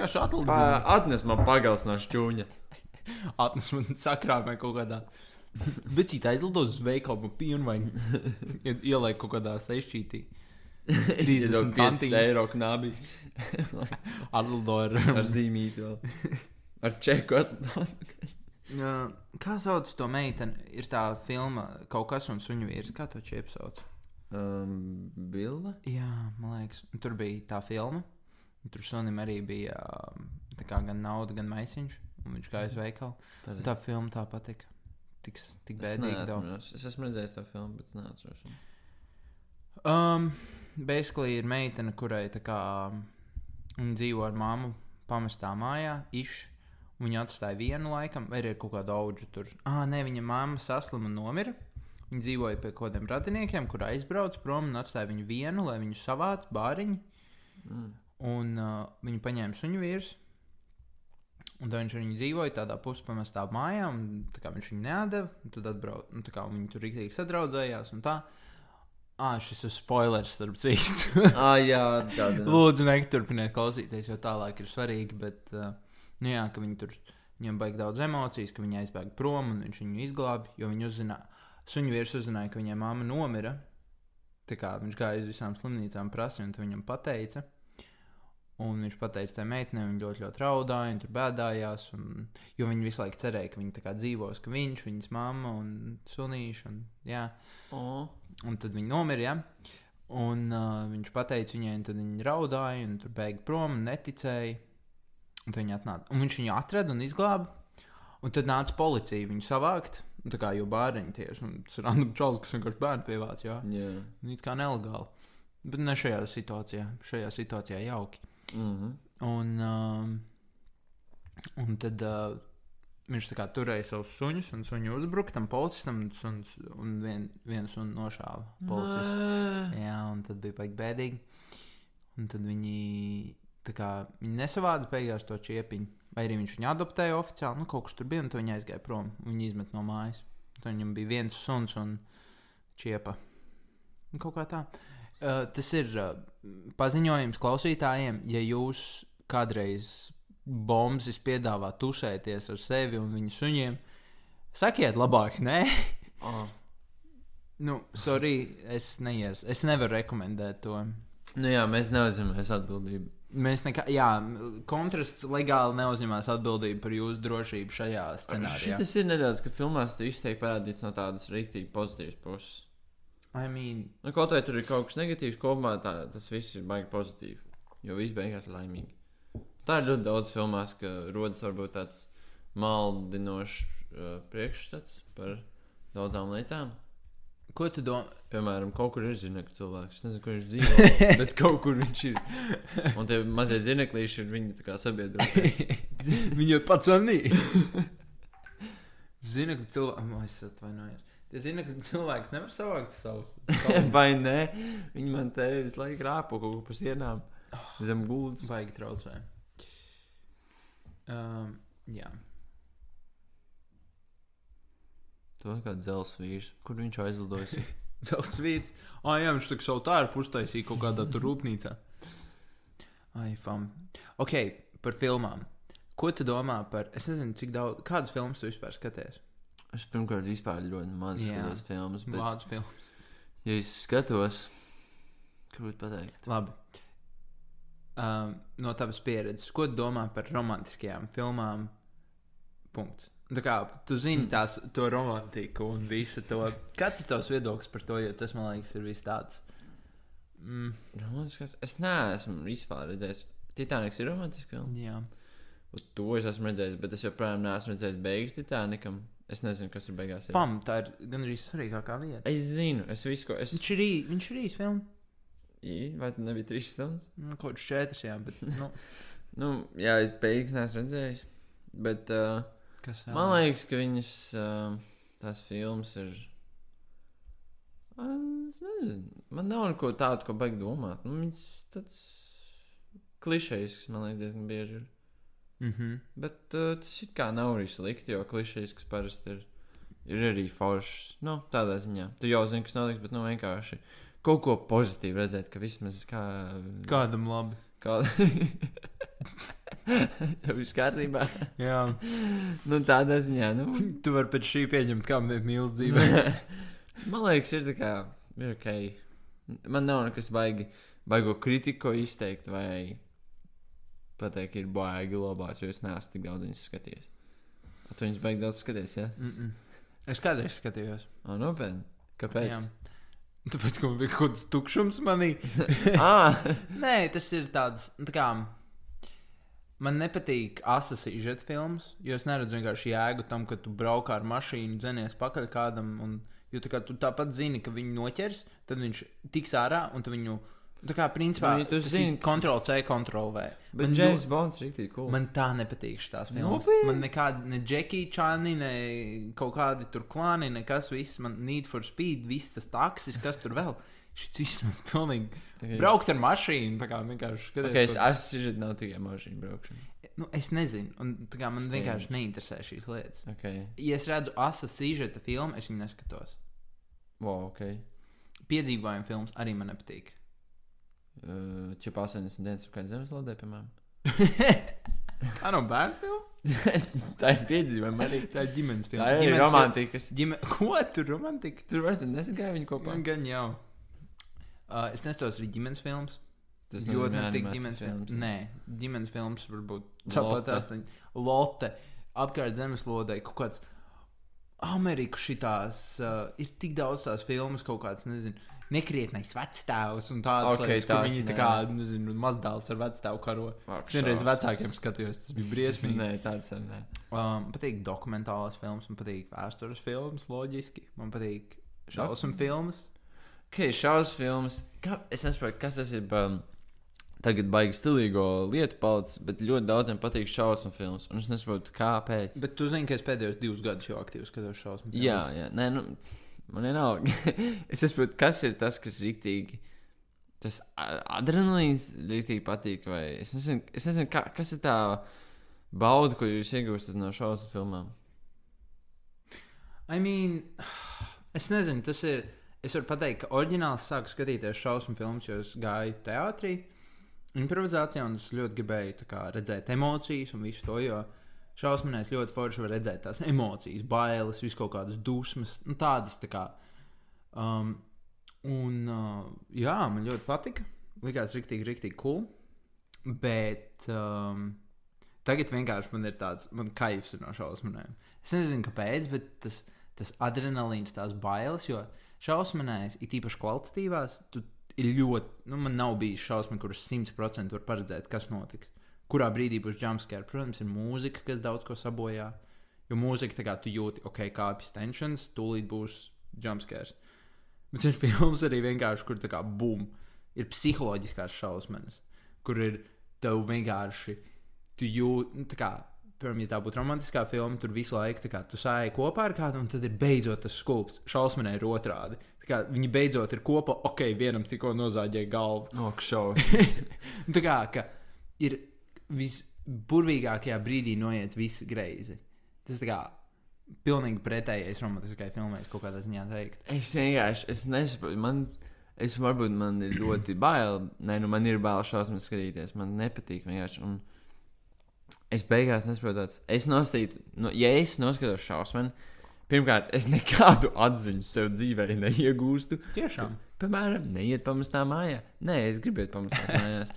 Speaker 2: Kā šādi
Speaker 1: Pā- Atnes man pagals no šķūņa.
Speaker 2: Atnes man sakrāmē kaut kādā. Vecīt aizlido uz veikalu man pienu vai ielaik kaut kādā sešķītī.
Speaker 1: 5
Speaker 2: 30 centiņus.
Speaker 1: eiro knabī
Speaker 2: Atlido ar...
Speaker 1: ar zīmīti vēl. Ar čeku atlido.
Speaker 2: Jā, Kā sauc to meiteni? Ir tā filma kaut kas un suņu vīrs. Kā to čiep sauc?
Speaker 1: Um, Bilda?
Speaker 2: Jā, man liekas. Un Tur bija tā filma. un Tur sunim arī bija um, tā kā gan nauda, gan maisiņš. Un viņš gāja uz veikalu. Un Tā filma tā patika. Tik, s- tik bēdīgi daudz.
Speaker 1: neatceros. Es esmu redzējis to filmu, bet es neatceros.
Speaker 2: Um, basically ir meitene, kurai tā kā um, viņa dzīvo ar mammu, pamestā mājā, iš. un Viņa atstāja vienu laikam, vai arī ir kaut kāda auga tur. Ah, nē, viņa mamma saslima un nomira. Viņa dzīvoja pie kaut kādiem radiniekiem, kur aizbrauca prom un atstāja viņu vienu, lai viņu savāc bāriņu.
Speaker 1: Mm.
Speaker 2: Un uh, viņu paņēma suņu vīrs. Un tad viņš ar viņu dzīvoja tādā puspamestā mājā, un tā kā viņš viņu nedeva. un Tad atbrauc, un tā kā viņi tur rīktīgi sadraudzējās. un Tā. Ah, šis ir spoilers, starp citu.
Speaker 1: Ah, jā, atgādina.
Speaker 2: Lūdzu, neturpiniet klausīties, jo tālāk ir svarīgi. Bet, uh, nu jā, ka viņi tur viņam baig daudz emocijas, ka viņi aizbēga prom un viņš viņu izglāba. Jo viņi uzzināja, suņu vīrs uzzināja, ka viņai mamma nomira. Tā kā viņš gāja uz visām slimnīcām, prasīja, un to viņam pateica. Un viņš pateica tam meitenei, viņa ļoti, ļoti raudāja, viņa tur bēdājās. Un, jo viņa visu laiku cerēja, ka viņa tā kā dzīvos, ka viņš, viņas mamma un sunīša. Un, jā,
Speaker 1: Oh.
Speaker 2: Un tad viņi nomira. Ja? Un uh, viņš pateica viņai, un tad viņa raudāja, un tur bēga prom, un neticēja. Un tad viņa atnāca. Un viņš viņu atrada un izglāba. Un tad nāca policija viņu savākt. Un tā kā jau bērniņi tieši. Un tas ir Andrija Čalis, kas vienkārši bērnu pievāca. Jā,
Speaker 1: Jā.
Speaker 2: un it kā nelegāli. Bet ne šajā situācijā. Šajā situācijā jauki.
Speaker 1: Mhm.
Speaker 2: Un, uh, un tad uh, viņš tā kā turēja savus suņus, un suņi uzbruka tam policistam, un, suns, un vien, viens sunu nošāva policists.
Speaker 1: Nē.
Speaker 2: Jā, un tad bija baigi bēdīgi. Un tad viņi, tā kā, viņi nesavāda beigās to čiepiņu. Vai arī viņš viņu adoptēja oficiāli, nu kaut kas tur bija, un to viņa aizgāja prom. Viņa izmet no mājas. Tad viņam bija viens suns un čiepa. Un kaut kā tā. Uh, tas ir uh, paziņojums klausītājiem, ja jūs kādreiz bombas piedāvājat tušēties ar sevi un viņu suņiem, sakiet, labāk, nē,
Speaker 1: Ah.
Speaker 2: Nu, sorry, es, neies, es nevaru rekomendēt to.
Speaker 1: Nu jā, mēs neuzņemamies atbildību.
Speaker 2: Mēs nekā, jā, kontrasts legāli neuzņemās atbildību par jūsu drošību šajā scenārijā.
Speaker 1: Šis ir nedaudz, ka filmās tas izteikti parādīts no tādas rīktīgi pozitīvas puses.
Speaker 2: I mean,
Speaker 1: Nu, kaut vai tur ir kaut kas negatīvs, kopumā tā, tas viss ir baigi pozitīvi. Jo viss beigās ir laimīgi. Tā ir ļoti daudz filmās, ka rodas varbūt tāds maldinošs uh, priekšstats par daudzām lietām.
Speaker 2: ko tu domā?
Speaker 1: Piemēram, kaut kur ir zirnekļu cilvēks. Es nezinu, kur viņš dzīvo, bet kaut kur viņš ir. Un tie mazie zirneklīši ir viņa tā kā sabiedrotie.
Speaker 2: Viņu pats anīja. Zinu, ka cilvēks, es atvainojos. Tie zina, ka cilvēks nevar savākt savus. savus-
Speaker 1: Vai nē, viņi man te visu laiku rāpo kaut ko pa sienām. Zem gultas.
Speaker 2: Baigi traucē. Um, jā.
Speaker 1: Tur kā dzels vīrs, kur viņš aizlidojis.
Speaker 2: Cels vīrs. Ah, jā, viņš tur savu tārpu uztaisīja kaut kādā tur rūpnīcā. Ai, fam. Ok, par filmām. Ko tu domā par? Es nezinu, cik daudz, kādas filmas tu vispār skaties.
Speaker 1: Es pirmkārt vispār ļoti maz
Speaker 2: Jā.
Speaker 1: skatos filmas, bet, Lā.
Speaker 2: Vācu filmas.
Speaker 1: ja es skatos, grūti pateikt.
Speaker 2: Labi. Um, no tavas pieredzes, ko tu domā par romantiskajām filmām? Punkts. Tā kā tu zini tās, to romantiku un visu to. Kāds ir tavs viedoklis par to? Jo tas man liekas, ir viss tāds. Mm,
Speaker 1: Romantiskas? Es neesmu vispār redzējis. Titaniks ir romantisks filma.
Speaker 2: jā.
Speaker 1: Un To es esmu redzējis, bet es joprojām neesmu redzējis beigas Titanikam. Es nezinu, kas tur beigās ir.
Speaker 2: Fam, tā ir gandrīz svarīgākā vieta.
Speaker 1: Es zinu, es visu, ko es.
Speaker 2: Viņš ir īsi. Viņš ir īsi filma.
Speaker 1: Ī, Vai tas nebija trīs stundas?
Speaker 2: Nu, Kaut kas četras, jā, bet. Nu,
Speaker 1: Nu, jā, es beigas neesmu redzējis. Bet, uh,
Speaker 2: kas vēl?
Speaker 1: Man liekas, ka viņas ā, tās filmas ir. Ā, Es nezinu, man nav neko tādu, ko baigi domāt. Nu, viņas tāds klišejisks, man liekas, diezgan bieži ir.
Speaker 2: Mhm.
Speaker 1: Bet uh, tas it kā nav arī slikti, jo klišejisks parasti ir, ir arī foršs. Nu, tādā ziņā. Tu jau zini, kas notiks, bet nu vienkārši kaut ko pozitīvu redzēt, ka vismaz kā.
Speaker 2: Kādam labi.
Speaker 1: kā... Tev viss kārtībā.
Speaker 2: Jā,
Speaker 1: Nu, tādā ziņā, nu.
Speaker 2: tu vari pēc šī pieņemt, kā man ir mīlestība dzīvē.
Speaker 1: Man liekas, ir tā kā, ir ok. Man nav nekas baigi, baigo kritiku izteikt vai pateikt, ir baigi labās, jo es neesmu tik daudz viņas skatījies. A, Tu viņas baigi daudz skaties, jā?
Speaker 2: Mm -mm. Es kādreiz skatījos.
Speaker 1: O, nopietni. Kāpēc?
Speaker 2: Jā. Tāpēc, ka man bija kaut kāds tukšums manī.
Speaker 1: Ā,
Speaker 2: Nē, tas ir tāds, nu, tā kā. Man nepatīk asas izžet filmas, jo es neredzu vienkārši jēgu tam, ka tu brauc ar mašīnu, dzenies pakaļ kādam. Un, jo tā kā tu tāpat zini, ka viņu noķers, tad viņš tiks ārā un tu viņu. Tā kā principā
Speaker 1: Nu, ja tu
Speaker 2: tas
Speaker 1: zini,
Speaker 2: ir
Speaker 1: tas-
Speaker 2: kontrol C, kontrol V.
Speaker 1: bet James Bonds ir tik cool.
Speaker 2: Man tā nepatīk šīs filmas.
Speaker 1: Nopietni?
Speaker 2: Man nekāda ne Jackie Chani, ne kaut kādi tur klāni, nekas viss. Man Need for Speed, viss tas taksis, kas tur vēl. Šis viss man pilnīgi.
Speaker 1: Ok,
Speaker 2: Braukt ar mašīnu, tā kā vienkārši skaties.
Speaker 1: Ok, es
Speaker 2: ko-
Speaker 1: aizsižu, nav tikai mašīna braukšana.
Speaker 2: nu, es nezinu, un tā kā man
Speaker 1: Slims.
Speaker 2: vienkārši neinteresē šīs lietas.
Speaker 1: Ok,
Speaker 2: Ja es redzu asa sižeta filmu, es viņu neskatos.
Speaker 1: wow, ok.
Speaker 2: Piedzīvojumu filmas arī man nepatīk.
Speaker 1: Uh, Čip 80 dienas apkārt zemeslodē, piemēram.
Speaker 2: Tā nav bērnu filma.
Speaker 1: tā ir piedzīvojama arī.
Speaker 2: Tā ir ģimenes filma.
Speaker 1: Tā ir
Speaker 2: Ģimenes
Speaker 1: romantikas.
Speaker 2: fil- Ģime... Ko tur romantika?
Speaker 1: Tur var teikt, nesagāja viņu kopā.
Speaker 2: Gan jau. Uh, es nestos arī ģimenes filmas.
Speaker 1: Tas
Speaker 2: ļoti
Speaker 1: nozīmē
Speaker 2: nepatīk
Speaker 1: animācijas
Speaker 2: ģimenes filmas.
Speaker 1: filmas.
Speaker 2: Nē, ģimenes filmas varbūt
Speaker 1: Lotte.
Speaker 2: tāpat tās Lotte, apkārt zemeslodē, kaut kāds Ameriku šitās, uh, ir tik daudz tās filmas, kaut kāds, nezinu, nekrietnais vecstāvs un tāds,
Speaker 1: Ok,
Speaker 2: okay, lietas, kur
Speaker 1: tās
Speaker 2: viņi
Speaker 1: nē.
Speaker 2: tā kā, nezinu, mazdēls ar vecstāvu karo.
Speaker 1: Ak,
Speaker 2: Es vienreiz
Speaker 1: šausmas.
Speaker 2: vecākiem skatījos, tas bija briesmīgi.
Speaker 1: Nē, tāds ir. Nē.
Speaker 2: Um, patīk dokumentālās filmas, man patīk vēstures filmas, loģiski, man patīk šausmu
Speaker 1: Dokum-
Speaker 2: filmas.
Speaker 1: Ok, šausmas filmas. Kā, es nesaprotu, kas tas ir. Um, tagad baigs stilīgo lietu palicis, bet ļoti daudziem patīk šausmu filmas. Un es nesaprotu, kāpēc. Bet,
Speaker 2: Bet tu zini, ka es pēdējos divus gadus jau aktīvi skatos šausmu filmas.
Speaker 1: jā, jā, nē, nu, man vienalga. es saprotu, kas ir tas, kas rīktīgi. Tas a- adrenalīns rīktīgi patīk. Vai es nezinu, es nezinu kā, kas ir tā bauda, ko jūs iegūstat no šausmu filmām.
Speaker 2: I mean, es nezinu, tas ir. Es varu pateikt, ka oriģināls sāku skatīties šausmu filmas, jo es gāju teātrī, improvizācijā, un es ļoti gribēju tā kā, redzēt emocijas un visu to. Jo šausmēs ļoti forši var redzēt tās emocijas, bailes, visu kaut kādas dusmas, nu, tādas tā kā. Um, un uh, jā, man ļoti patika. Likās, rīktīgi, rīktīgi cool. Bet um, tagad vienkārši man ir tāds, man kaifs ir no šausmām. Es nezinu, kāpēc, bet tas, tas adrenalīns, tās bailes, jo šausminājas, it īpaši kvalitatīvās, tu ir ļoti, nu, man nav bijis šausmas, kuras 100% var paredzēt, kas notiks. Kurā brīdī būs jumpscare? Protams, ir mūzika, kas daudz ko sabojā. Jo mūzika, tā kā tu jūti, ok, kāpjas tensions, tūlīt būs jumpscare. Bet ir filmas arī vienkārši, kur tā kā bum, ir psiholoģiskās šausmas, kur ir tev vienkārši, tu jūti, nu, tā kā, piemēram, ja tā būtu romantiskā filma, tur visu laiku tā kā tu sāji kopā ar kādu, un tad ir beidzot tas skulps. Šausmanai ir otrādi. Tā kā viņi beidzot ir kopā, ok, vienam tikko nozāģēja galvu.
Speaker 1: Ok, šausmas.
Speaker 2: Nu, tā kā ka ir visburvīgākajā brīdī noiet viss greizi. Tas tā kā pilnīgi pretējais romantiskai filmai, es kaut kādā ziņā teikt.
Speaker 1: Es vienkārši es nesaprotu. Man, es varbūt man ir ļoti bail. Nē, nu man ir bail šausmas skatīties. Man nepatīk vienkārši. Un es beigās nesaprotu, tāds. Es nostītu, no, ja es noskatos šausmas, pirmkārt, es nekādu atziņu sev dzīvē neiegūstu.
Speaker 2: Tiešām.
Speaker 1: Piemēram, neiet pamestā mājā. Nē, es gribētu pamestās mājās.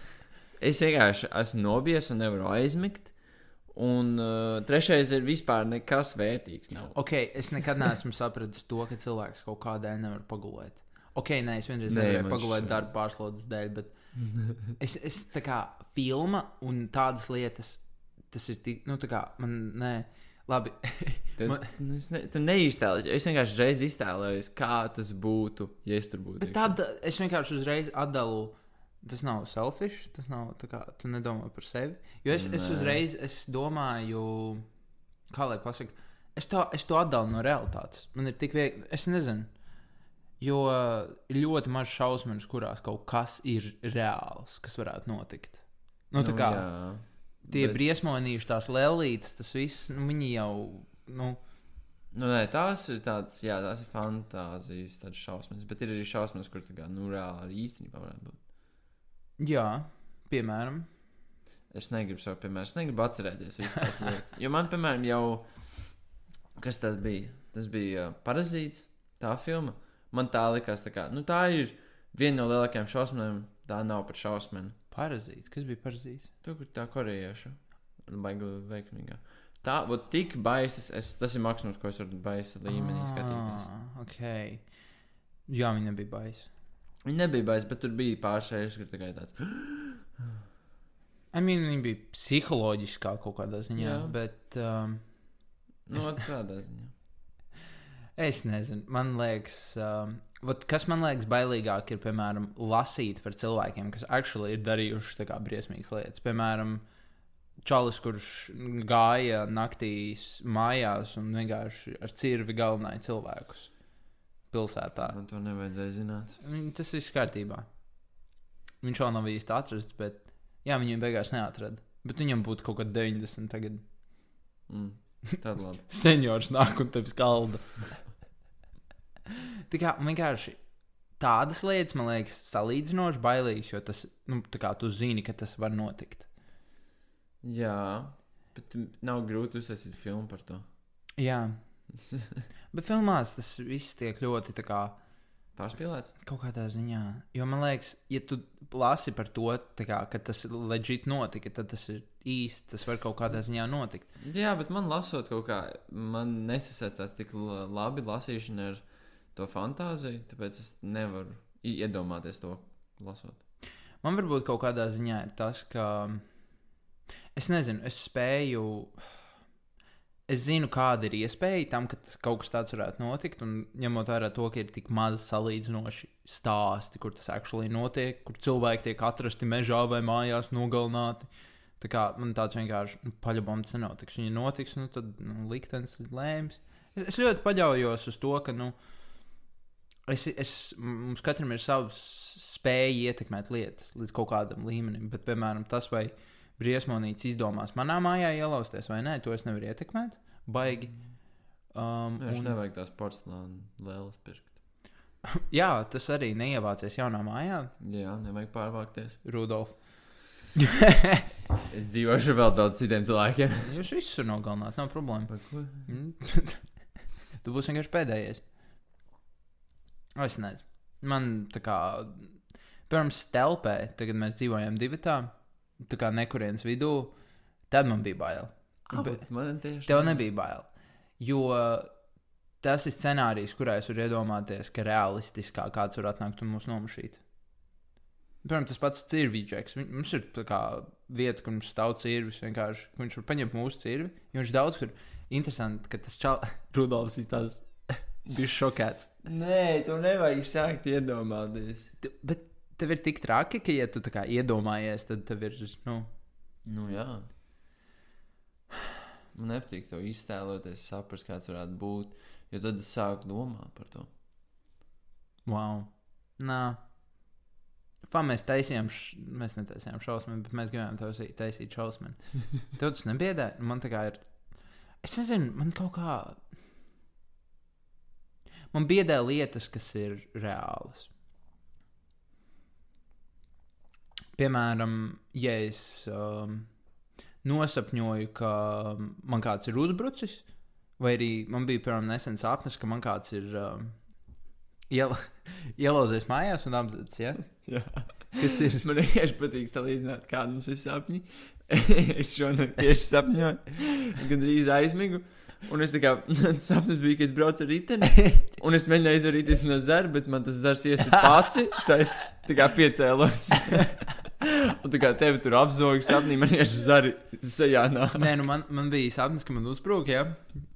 Speaker 1: Es vienkārši esmu nobijies un nevaru aizmigt. Un uh, trešais ir vispār nekas vērtīgs. Nav.
Speaker 2: Ok, es nekad neesmu sapratis to, ka cilvēks kaut kādēļ nevar pagulēt. Ok, nē, es vienreiz
Speaker 1: Nē,
Speaker 2: nevarēju
Speaker 1: man
Speaker 2: pagulēt
Speaker 1: šķiet.
Speaker 2: darba pārslodzes dēļ, bet es, es tā kā filma un tādas lietas, tas ir tik, nu tā kā man, nē, labi.
Speaker 1: Tad
Speaker 2: Man-
Speaker 1: Man... es ne, tu neiztēlojies. Es vienkārši reiz iztēlojos, kā tas būtu, ja es tur būtu.
Speaker 2: Bet tad es vienkārši uzreiz atdalu. Tas nav selfish, tas nav tā kā tu nedomā par sevi. Jo es, es
Speaker 1: Nē.
Speaker 2: uzreiz es domāju, kā lai pasaktu, es, to- es to atdalu no realitātes. Man ir tik viegli, es nezinu. Jo ir ļoti maz šausmas, kurās kaut kas ir reāls, kas varētu notikt. Nu, tā kā nu,
Speaker 1: jā,
Speaker 2: tie
Speaker 1: bet-
Speaker 2: bet... briesmonīši, tās lēlītes, tas viss, nu, viņi jau. Nu,
Speaker 1: nu, nē, tās ir tādas, jā, tās ir fantāzijas, tādas šausmas. Bet ir arī šausmas, kur tā kā, nu, reāli arī īstenībā varētu būt.
Speaker 2: jā, piemēram.
Speaker 1: Es negribu šo piemēru. Es negribu atcerēties visas tās lietas. Jo man, piemēram, jau kas tas bija? Tas bija uh, parazīts, tā filma. Man tā likās, tā, kā, nu, tā ir viena no lielākajām šausmām. Tā nav par šausmām.
Speaker 2: Parazīts. Kas bija parazīts?
Speaker 1: Tur, kur tā korejiešu, baigla veiksmīgā. Tā, vot tik baisas, es, tas ir maksimums, ko es varu baisa līmenī skatīties.
Speaker 2: Ah, ok. Jā, viņa bija baisa.
Speaker 1: Viņa nebija baisa, bet tur bija pārsteigts, ka tikai tāds.
Speaker 2: I mean, viņa bija psiholoģiskā kaut kādā ziņā, Jā.
Speaker 1: Jā.
Speaker 2: bet um,
Speaker 1: Nu, vat tādā ziņā.
Speaker 2: es nezinu. Man liekas, um, vat, kas man liekas bailīgāk, ir piemēram lasīt par cilvēkiem, kas actually ir darījuši tā kā briesmīgas lietas. Piemēram, čalis, kurš gāja naktīs mājās un vienkārši ar cirvi galvenai cilvēkus pilsētā.
Speaker 1: Man to nevajadzēja zināt.
Speaker 2: Viņ- Tas viss kārtībā. Viņš vēl nav īsti atrasts, bet jā, viņu beigās neatrada. Bet viņam būtu kaut kāda 90 tagad.
Speaker 1: Mm. Tad labi.
Speaker 2: Seniors nāk un tevis kalda. tā kā vienkārši tādas lietas, man liekas, salīdzinoši bailīgas, jo tas, nu, tā kā tu zini, ka tas var notikt.
Speaker 1: Jā, bet nav grūti uzsākt filmu par to.
Speaker 2: Jā, bet filmās tas viss tiek ļoti tā kā.
Speaker 1: Pārspīlēts.
Speaker 2: Kaut kādā ziņā, jo man liekas, ja tu lasi par to, tā kā, ka tas leģit notika, tad tas ir īsti, tas var kaut kādā ziņā notikt.
Speaker 1: Jā, bet man lasot kaut kā, man nesasaistās tik la- labi lasīšana ar to fantāziju, tāpēc es nevaru i- iedomāties to lasot.
Speaker 2: Man varbūt kaut kādā ziņā ir tas, ka es nezinu, es spēju, es zinu, kāda ir iespēja tam, ka tas kaut kas tāds varētu notikt, un ņemot vērā to, ka ir tik maz salīdzinoši stāsti, kur tas actually notiek, kur cilvēki tiek atrasti mežā vai mājās nogalināti. Tā kā man tāds vienkārši nu, paļāvums nenotiks. Viņa notiks, nu tad nu, liktenis lēms. Es, es ļoti paļaujos uz to, ka nu, es, es, mums katram ir savs spēja ietekmēt lietas līdz kaut kādam līmenim. Bet, piemēram, tas, vai briesmonīts izdomās manā mājā ielausties vai nē, to es nevaru ietekmēt. Baigi. Um,
Speaker 1: Viņš
Speaker 2: un-
Speaker 1: Nu, nevajag tās porcelāna lēlas pirkt.
Speaker 2: jā, tas arī neievācies jaunā mājā,
Speaker 1: Jā, nevajag pārvākties.
Speaker 2: Rudolf.
Speaker 1: Es dzīvošu vēl daudz citiem cilvēkiem.
Speaker 2: Jūs visus tur nogalināt, nav problēma.
Speaker 1: Par ko?
Speaker 2: Mm. tu būsi vienkārši pēdējais. Es nezinu. Man tā kā, pirms telpē, tagad mēs dzīvojam divi tā, tā kā nekurienes vidū, tad man bija bail.
Speaker 1: Ah,
Speaker 2: Bet
Speaker 1: bet man tieši
Speaker 2: tev nebija bail. Jo tas ir scenārijs, kurā es varu iedomāties, ka realistiskā kāds var atnākt un mūs nomušīt. Piemēram, tas pats cirvīčeks. Viņ- Mums ir tā kā vieta, kur mums stāv cirvis. Vienkārši kur viņš var paņemt mūsu cirvi. jo Viņš daudz kur interesanti, ka tas čal... Rudolfs ir tāds bija šokēts.
Speaker 1: Nē, tev nevajag sākt iedomāties.
Speaker 2: Tu- Bet tev ir tik traki, ka, ja tu tā kā iedomājies, tad tev ir, nu,
Speaker 1: Nu, jā. Man nepatīk to iztēloties, saprast, kāds varētu būt. Jo tad es sāku domāt par to.
Speaker 2: wow. Nā. Fā, mēs taisījām, š... mēs netaisījām šausmu, bet mēs gribējām taisīt, taisīt šausmu. Tev tas nebiedē? Man tā kā ir. Es nezinu, man kaut kā. Man biedē lietas, kas ir reālas. Piemēram, ja es um, nosapņoju, ka man kāds ir uzbrucis, vai arī man bija piemēram, nesen sapnis, ka man kāds ir um, iela ielauzies mājās un apziņas. Ja?
Speaker 1: Jā.
Speaker 2: Kas ir?
Speaker 1: Man vienkārši patīk salīdzināt, kāda mums ir sapņi. es šonakt tieši sapņoju, gan drīz aizmigu. Un es tā kā sapņoju, bija, ka es braucu ar riteni. Un es mēģināju izvairīties no zara, bet man tas zars iesita pāci. So es tā kā piecēlos. un tā kā tevi tur apzogi sapnī, man vienkārši zari sejā nāk.
Speaker 2: Nē, nu man, man bija sapnis, ka man uzbrūk, ja?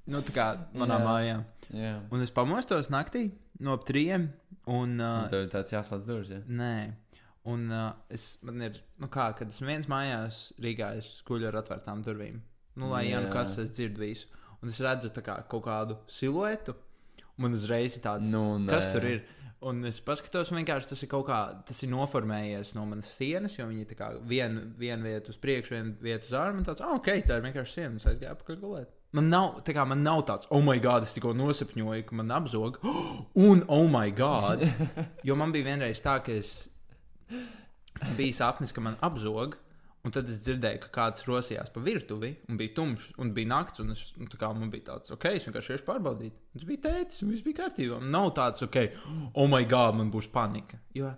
Speaker 2: Nu, tā kā manā
Speaker 1: Jā.
Speaker 2: yeah. mājā.
Speaker 1: Jā.
Speaker 2: Un es pamostos naktī no ap trījiem. Un,
Speaker 1: Un
Speaker 2: uh,
Speaker 1: tev ir tāds jāslēdz durvis, jā.
Speaker 2: nē, un uh, es, man ir, nu kā, kad esmu viens mājās Rīgā, es guļu ar atvērtām durvīm. Nu, lai jau nu
Speaker 1: Jā.
Speaker 2: kas, es dzirdu visu. Un es redzu tā kā kaut kādu siluetu, un man uzreiz ir tāds,
Speaker 1: Nu, nē.
Speaker 2: kas tur ir. Un es paskatos, un vienkārši tas ir kaut kā, tas ir noformējies no manas sienas, jo viņi tā kā vienu vien vietu uz priekšu, vienu vietu uz ārā. Man tāds, ah, ok, tā ir vienkārši siena, un es aizgāju apakaļ gulēt. Man nav, tā kā man nav tāds, oh, my god, es tikko nosapņoju, ka man apzog, un oh, my god. Jo man bija vienreiz tā, ka es biju sapnis, ka man apzog, Un tad es dzirdēju, ka kāds rosījās pa virtuvi, un bija tumšs, un bija naktis, un, es, un tā kā man bija tāds, ok, es vienkārši iešu pārbaudīt. Tas bija tētis, un viss bija kārtībā. Un Nav tāds, ok, oh, my god, man būs panika. Jo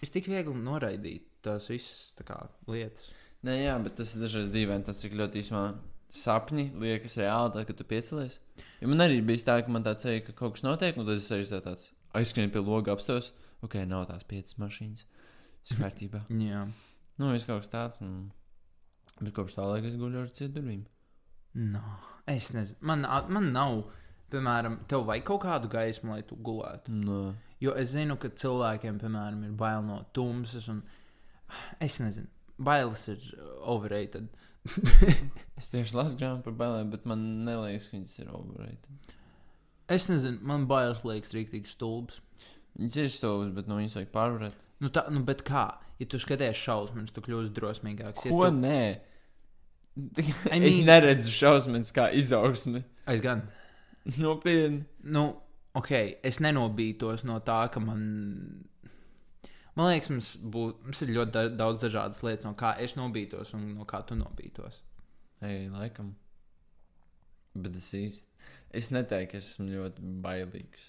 Speaker 2: ir tik viegli noraidīt tās visas tā kā, lietas.
Speaker 1: Nē, jā, bet tas ir dažreiz dīvaini. Tas cik ļoti īsumā sapņi liekas reāli, tad, kad tu piecelies. Jo man arī bija tā, ka man tāds ceļš, ka kaut kas notiek, un tad es arī tā tāds aizskrēju pie loga apstāties. Ok, nav tās piecas mašīnas. Viss kārtībā.
Speaker 2: Jā,
Speaker 1: nu, viss kaut kas tāds. Un... Bet kopš tā laika es guļu ar cieturīm.
Speaker 2: no, es nezinu. Man, man nav, piemēram, tev vajag kaut kādu gaismu, lai tu gulētu.
Speaker 1: No.
Speaker 2: Jo es zinu, ka cilvēkiem, piemēram, ir bail no tumsas, un es nezinu, bailes ir uh, overrated.
Speaker 1: Es tieši lasu grāmatu par bailēm, bet man neliekas, ka viņas ir overrated.
Speaker 2: Es nezinu, man bailes liekas rīktīgi stulbas.
Speaker 1: Viņas ir stūvis, bet no viņas vajag pārvarēt.
Speaker 2: Nu, tā, nu, bet kā? Ja tu skaties šausmas, tu kļūsi drosmīgāks.
Speaker 1: Ko
Speaker 2: Ja tu...
Speaker 1: nē?
Speaker 2: I
Speaker 1: Es
Speaker 2: mean-
Speaker 1: neredzu šausmas kā izaugsmi.
Speaker 2: Es gan.
Speaker 1: Nopietni.
Speaker 2: Nu, ok, es nenobītos no tā, ka man. Man liekas, mums, bū... mums ir ļoti da daudz dažādas lietas, no kā es nobītos un no kā tu nobītos.
Speaker 1: Ei, laikam. Bet es īsti. Es neteiktu, ka es esmu ļoti bailīgs.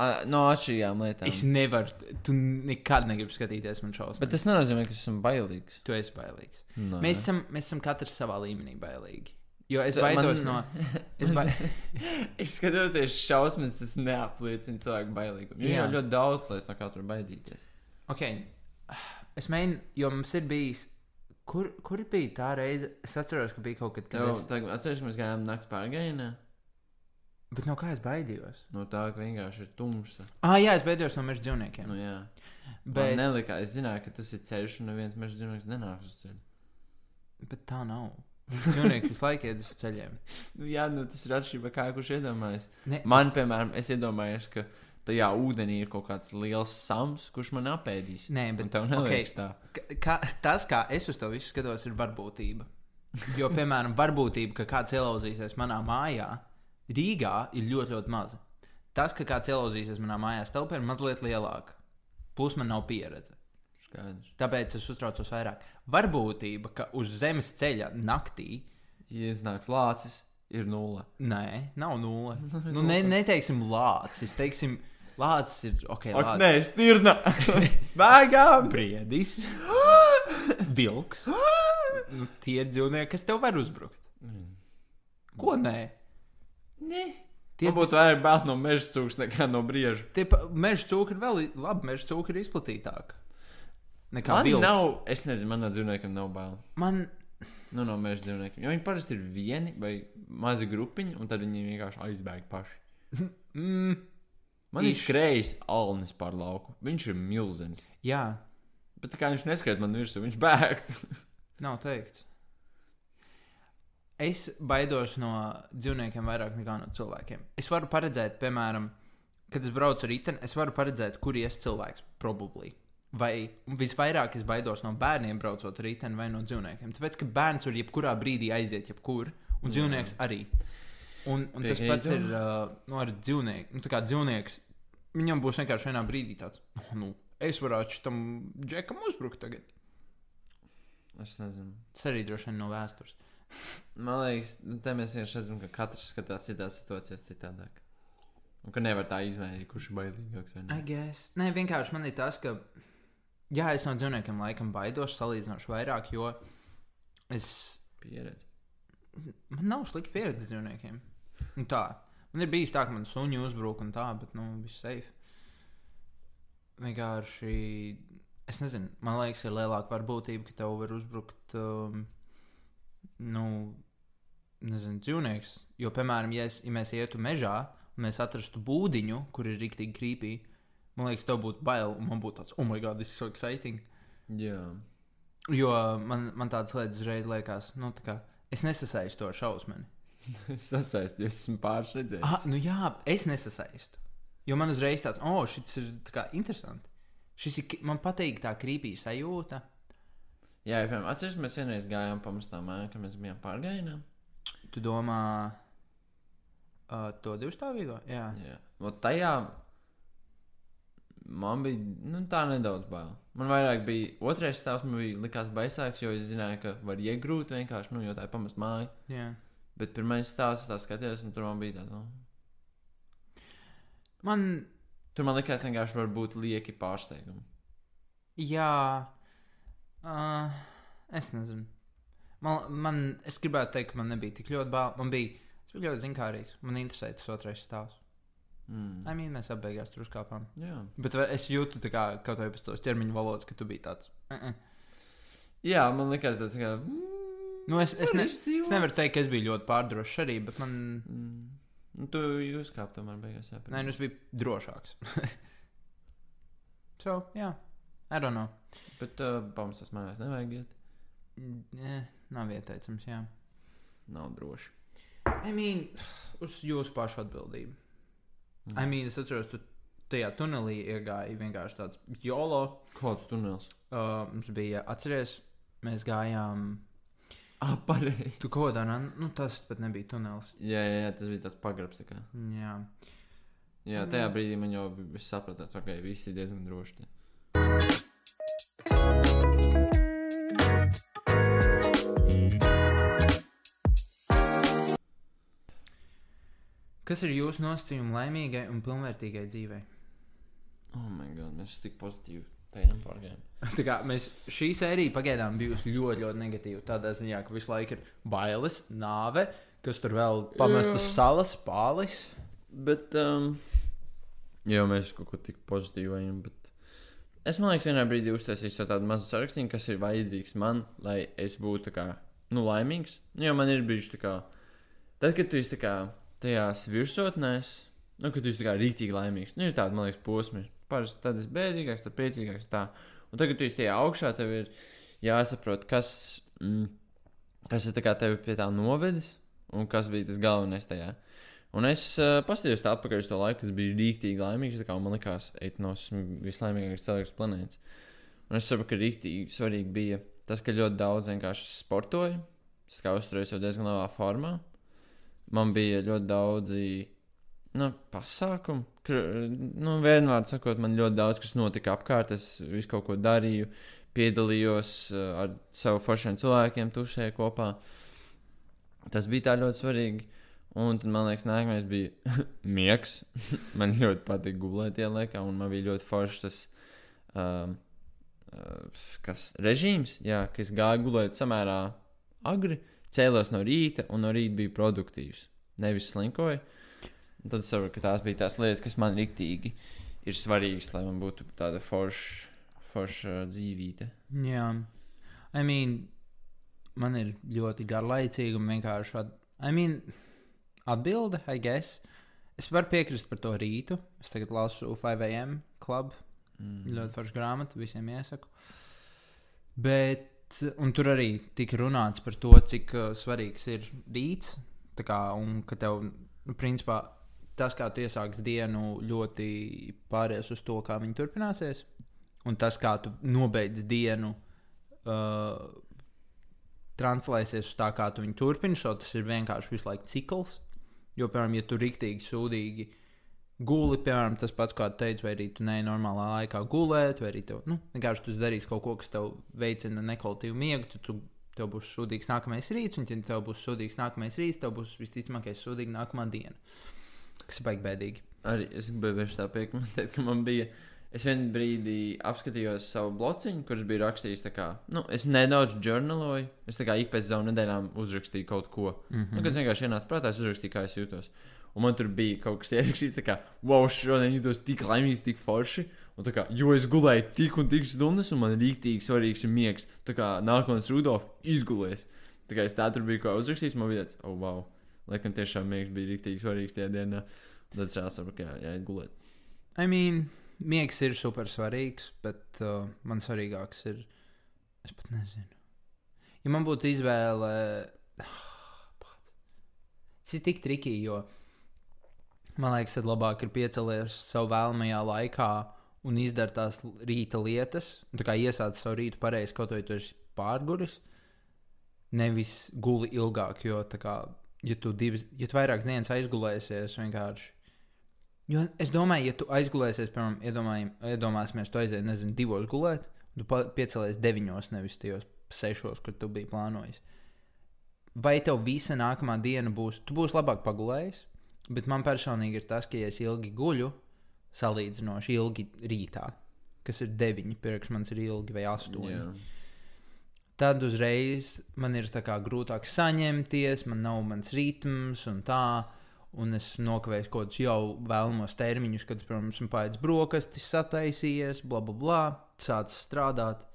Speaker 1: A, no atšķirīgām lietām.
Speaker 2: Es nevaru, tu nekad negribi skatīties man šausmas.
Speaker 1: Bet tas nenozīmē, ka es esmu bailīgs.
Speaker 2: Tu esi bailīgs.
Speaker 1: Nē.
Speaker 2: Mēs esam, mēs esam katrs savā līmenī bailīgi. Jo es
Speaker 1: Tu-
Speaker 2: baidos
Speaker 1: man-
Speaker 2: no. Es ba...
Speaker 1: Es skatoties šausmas, tas neapliecina cilvēku bailīgumu.
Speaker 2: Jā.
Speaker 1: Jā, jau ļoti daudz, lai es no kā tur baidīties.
Speaker 2: okay. Es mēģinu, jo mums ir bijis. Kur, kur bija tā reize? Es atceros, ka bija kaut kad
Speaker 1: Tev,
Speaker 2: tāds.
Speaker 1: tagad, atceries, ka mēs gājām naktas pārgājienā?
Speaker 2: Bet no kā es baidījos?
Speaker 1: No tā, ka vienkārši ir tumsa.
Speaker 2: Ah, jā, es baidījos no meža dzīvniekiem.
Speaker 1: Nu, jā. Bet...
Speaker 2: Bet,
Speaker 1: Man nelikā, es zināju, ka tas ir ceļš, un neviens meža dzīvnieks nenāks uz ceļa.
Speaker 2: bet tā nav. Dzīvnieki visu laiku iet uz ceļiem.
Speaker 1: Nu, jā, nu, tas ir atšķirība, kā kurš iedomājas.
Speaker 2: Ne-
Speaker 1: Man, piemēram, es iedomājos, ka tajā ūdenī ir kaut kāds liels sams, kurš man apēdīs.
Speaker 2: Nē,
Speaker 1: Un
Speaker 2: bet
Speaker 1: tev neliekas tā.
Speaker 2: Ka- kā, tas, kā es uz to visu skatos, ir varbūtība. Jo, piemēram, varbūtība, ka kāds ielauzīsies manā mājā, Rīgā ir ļoti, ļoti maza. Tas, ka kāds ielauzīsies manā mājā, telpā ir mazliet lielāka. Plus man nav pieredze.
Speaker 1: Skaidrs.
Speaker 2: Tāpēc es uztraucos vairāk. Varbūtība, ka uz zemes ceļa naktī,
Speaker 1: Ja iznāks lācis, ir nulle.
Speaker 2: nē, nav nulle. Nu, ne, neteiksim lācis, teiksim, lācis ir ok.
Speaker 1: Ak,
Speaker 2: Lācis.
Speaker 1: nē, stirna! Bēgām!
Speaker 2: Briedis, vilks. Nu, tie ir dzīvnieki, kas tev var uzbrukt.
Speaker 1: Mm.
Speaker 2: Ko nē?
Speaker 1: Nē.
Speaker 2: Tie
Speaker 1: Tie būtu vairāk bail no meža cūks nekā no brieža.
Speaker 2: Tie pa- meža cūka ir vēl i- labi. Meža cūka ir izplatītāka. Nekā
Speaker 1: Man
Speaker 2: vilks.
Speaker 1: nav, es nezinu, manā dzīvniekam nav bail.
Speaker 2: Man,
Speaker 1: Nu, no meža dzīvniekiem. Jo viņi parasti ir vieni vai mazi grupiņi, un tad viņi vienkārši aizbēg paši.
Speaker 2: mm,
Speaker 1: Man ir
Speaker 2: Iš.
Speaker 1: skrejis Alnis par lauku. Viņš ir milzīgs.
Speaker 2: jā,
Speaker 1: Bet tā kā viņš neskrēja man virsū, viņš bēgtu.
Speaker 2: nav teikts. Es baidos no dzīvniekiem vairāk nekā no cilvēkiem. Es varu paredzēt, piemēram, kad es braucu ar riteni, es varu paredzēt, kur ies cilvēks. Probably. Vai visvairāk es baidos no bērniem braucot ar riteni vai no dzīvniekiem? Tāpēc, ka bērns var jebkurā brīdī aiziet, jebkur, un dzīvnieks arī. Un, un tas pats
Speaker 1: Piekrītu.
Speaker 2: ir uh, nu, ar dzīvnieku. Nu, tā kā dzīvnieks, viņam būs vienkārši vienā brīdī tāds, nu, es varētu tam džekam uzbrukt tagad.
Speaker 1: Es nezinu.
Speaker 2: Tas arī droši vien no vēstures.
Speaker 1: Man liekas, nu, te mēs vienkārši redzam, ka katrs skatās citās situācijās citādāk. Un ka nevar tā izmērīt, kurš ir bailīgāks vai
Speaker 2: I
Speaker 1: nē.
Speaker 2: guess. Nē, vienkārši man ir tas, ka, jā, es no dzīvniekiem laikam baidos salīdzinoši vairāk, jo es
Speaker 1: Pieredze.
Speaker 2: Man nav slikta pieredze ar dzīvniekiem. Nu, tā. Man ir bijis tā, ka man suņi uzbruka un tā, bet nu, viss safe. Vienkārši. Es nezinu, man liekas, ir lielāka varbūtība, ka tev var uzbrukt. Um, nu, nezinu, dzīvnieks. Jo, piemēram, ja, es, ja mēs ietu mežā un mēs atrastu būdiņu, kur ir rīktīgi krīpī, man liekas, tev būtu bail un man būtu tāds, oh, my god, this is so exciting.
Speaker 1: Jā.
Speaker 2: Jo man, man tādas lietas uzreiz liekas, nu, tā kā es nesasaistu to ar šausmeni.
Speaker 1: Es sasaistīju, es esmu pārredzējis.
Speaker 2: Ah, nu jā, es nesasaistu. Jo man uzreiz tāds, oh, šis ir tā kā interesanti. Šis ir, ki- man patīk tā krīpīga sajūta.
Speaker 1: Jā, ja, piemēram, atceries, mēs vienreiz gājām pamestām mājā, kad mēs bijām pārgājienā.
Speaker 2: Tu domā, uh, to divstāvīgo? Jā,
Speaker 1: Jā. No tajā man bija nu, tā nedaudz bail. Man vairāk bija otrais stāvs, man bija likās baisāks, jo es zināju, ka var iegrūt vienkārši, nu, jo tā ir pamest māja.
Speaker 2: Jā.
Speaker 1: Bet pirmais stāvs, es tā skatījos, un tur man bija tāds, nu,
Speaker 2: Man,
Speaker 1: tur man likās vienkārši var būt lieki pārsteigumi.
Speaker 2: jā, uh, es nezinu. Man, man, es gribētu teikt, ka man nebija tik ļoti bail. Man bija, es biju ļoti zinkārīgs. Man interesēja tas otrais stāvs.
Speaker 1: Mm.
Speaker 2: Ai, mīļā, mēs apbeigās tur uzkāpām.
Speaker 1: Jā.
Speaker 2: Bet vai- es jūtu, tā kā kaut vai pēc tos ķermeņa valodas, ka tu biji tāds. Uh -uh.
Speaker 1: Jā, man likās tas, ka. mm,
Speaker 2: Nu, es, es, ne,
Speaker 1: varēšu dzīvot.
Speaker 2: es nevaru teikt, ka es biju ļoti pārdrošs arī, bet man.
Speaker 1: Mm. Nu, tu jūs kāpjat, tomēr beigās jāpērk.
Speaker 2: Nē, nu es biju drošāks. so, jā, I don't know.
Speaker 1: Bet uh, pamestas mājās nevajag iet.
Speaker 2: Nē, eh, nav ieteicams, jā.
Speaker 1: Nav droši.
Speaker 2: I mean, uz jūsu pašu atbildību. Mm. I mean, es atceros, tu tajā tunelī iegāji vienkārši tāds jolo.
Speaker 1: Kāds tunels?
Speaker 2: Uh, mums bija, atceries, mēs gājām.
Speaker 1: Ah, pareizi.
Speaker 2: Tu kaut kādā, nan- nu tas pat nebija tunelis.
Speaker 1: Jā, jā, jā, tas bija tāds pagrabs. Tā kā.
Speaker 2: Jā.
Speaker 1: jā, tajā brīdī man jau bija viss sapratīts, ka okay, viss ir diezgan droši. te.
Speaker 2: Kas ir jūsu nostājumi laimīgai un pilnvērtīgai dzīvei?
Speaker 1: Oh, my God, mēs tik pozitīvi tajām pārgājām.
Speaker 2: Tā kā mēs šī sērija pagaidām bijusi ļoti, ļoti negatīva. Tādā ziņā, ka visu laiku ir bailes, nāve, kas tur vēl pamestas salas, pālis.
Speaker 1: Bet, um, jau mēs kaut ko tik pozitīvu ejam. Bet... Es domāju, ka vienā brīdī uztaisīšu sev tādu mazu sarakstu, kas ir vajadzīgs man, lai es būtu tā kā, nu, laimīgs. Nu, Jo man ir bijis tā, kā, tad, kad tu esi tā kā tajās virsotnēs, nu, kad tu esi tā kā rītīgi laimīgs, nu, ir tāds, man liekas, posms. Parasti tad es bēdīgāks, tad priecīgāks. Tā. Un tagad, kad tu esi tajā augšā, tev ir jāsaprot, kas, mm, kas ir tā kā tevi pie tā novedis un kas bija tas galvenais tajā. Un es uh, paskatījos tā atpakaļ uz to laiku, kad biju rīktīgi laimīgs. tā kā Man liekas, eit no esmu vislaimīgākais cilvēks planētas. Un es saprotu, ka rīktīgi svarīgi bija tas, ka ļoti daudz vienkārši sportoju. Es tā kā uzturējos jau diezgan labā formā. Man bija ļoti daudzi nu, pasākumi. kr- Nu, vienvārds sakot, man ļoti daudz kas notika apkārt. Es visu kaut ko darīju, piedalījos uh, ar savu foršiem cilvēkiem, tušēju kopā. Tas bija tā ļoti svarīgi. Un tad, man liekas, nākamais bija miegs. man ļoti patīk gulēt tajā laikā, un man bija ļoti foršs tas um, uh, kas, režīms, jā, kas gāja gulēt samērā agri, cēlos no rīta, un no rīta bija produktīvs. Nevis slinkoja. Un Tad es saprotu, ka tās bija tās lietas, kas man rīktīgi ir svarīgas, lai man būtu tāda forša, forša dzīvība.
Speaker 2: Jā, I mean, man ir ļoti garlaicīga un vienkārši at... I mean, atbilde, I guess. Es varu piekrist par to rītu. Es tagad lasu 5AM klubu. Mm. Ļoti forša grāmata, visiem iesaku. Bet, un tur arī tika runāts par to, cik uh, svarīgs ir rīts. tā Kā, un ka tev, nu, principā, tas, kā tu iesāksi dienu, ļoti pāries uz to, kā viņi turpināsies. Un tas, kā tu nobeidz dienu, uh, translēsies uz tā, kā tu viņu turpini. So tas ir vienkārši visu laiku cikls. Jo, piemēram, ja tu rīktīgi sūdīgi guli, piemēram, tas pats, kā teicu, vai arī tu neej normālā laikā gulēt, vai arī tev nu, vienkārši tu darīsi kaut ko, kas tev veicina nekvalitatīvu miegu, tad tu, tev būs sūdīgs nākamais rīts, un, ja tev būs sūdīgs nākamais rīts, tev būs visticamākais sūdīga nākamā diena. Kas ir baigi bēdīgi.
Speaker 1: Arī es gribēju tieši tā piekrist, ka man bija. Es vienā brīdī apskatījos savu blociņu, kurš bija rakstījis, tā kā, nu, es nedaudz žurnāloju. Es tā kā ik pēc divām nedēļām uzrakstīju kaut ko. Mm -hmm. nu, kad es vienkārši ienācu prātā, es uzrakstīju, kā es jūtos. Un man tur bija kaut kas ierakstīts, tā kā, wow, šodien jūtos tik laimīgs, tik forši. Un tā kā, jo es gulēju tik un tik stundas, un man rīktīgi svarīgs ir miegs. Tā kā nākamais Rudolf izgulēs. Tā kā es tā tur biju ko uzrakstījis, man bija tāds, oh, wow. Laikam tiešām miegs bija rīktīgi svarīgs tajā dienā. Tad es saprotu, ka jā, jāiet gulēt.
Speaker 2: I mean, miegs ir super svarīgs, bet uh, man svarīgāks ir. Es pat nezinu. Ja man būtu izvēle. Tas ir tik trikīgi, jo man liekas, tad labāk ir piecelties savā vēlamajā laikā un izdarīt tās rīta lietas. Un Tā kā iesākt savu rītu pareizi, kaut vai tu esi pārguris, nevis guli ilgāk. Jo, tā kā, ja tu, divas, ja tu vairākas dienas aizgulēsies, vienkārši Jo es domāju, ja tu aizgulēsies, piemēram, iedomājam- iedomāsimies, tu aizēji, nezinu, divos gulēt, un tu pa- piecelies deviņos, nevis tajos sešos, kur tu biji plānojis. Vai tev visa nākamā diena būs, tu būsi labāk pagulējis, bet man personīgi ir tas, ka ja es ilgi guļu, salīdzinoši ilgi rītā, kas ir deviņi, priekš manis ir ilgi vai astoņi.
Speaker 1: Jā.
Speaker 2: Yeah. Tad uzreiz man ir tā kā grūtāk saņemties, man nav mans ritms un tā. Un es nokavēju kaut kādus jau vēlamos termiņus, kad, pirms tam pēc brokastis sataisījies, bla, bla, bla, sācis strādāt.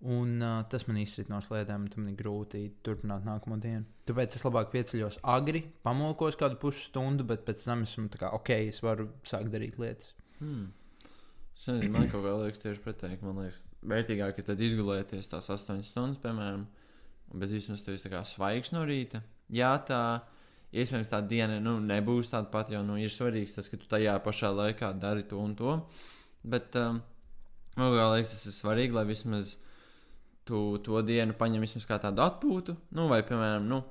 Speaker 2: Un uh, tas man izsita no slēdēm, un tam ir grūti turpināt nākamo dienu. Tāpēc es labāk pieceļos agri, pamokos kādu pusstundu, bet pēc tam esmu tā kā, ok, es varu sākt darīt lietas.
Speaker 1: Hmm. Es nezinu, man kaut kā liekas tieši pretēji. ka Man liekas, vērtīgāk ir tad izgulēties tās 8 stundas, piemēram, un- bet vismaz tu esi tā kā svaigs no rīta. Jā, tā iespējams tā diena nu, nebūs tāda pati, jo nu, ir svarīgs tas, ka tu tajā pašā laikā dari to un to. Bet um, man kā liekas, tas ir svarīgi, lai vismaz tu to dienu paņem vismaz kā tādu atpūtu, nu, vai, piemēram, nu,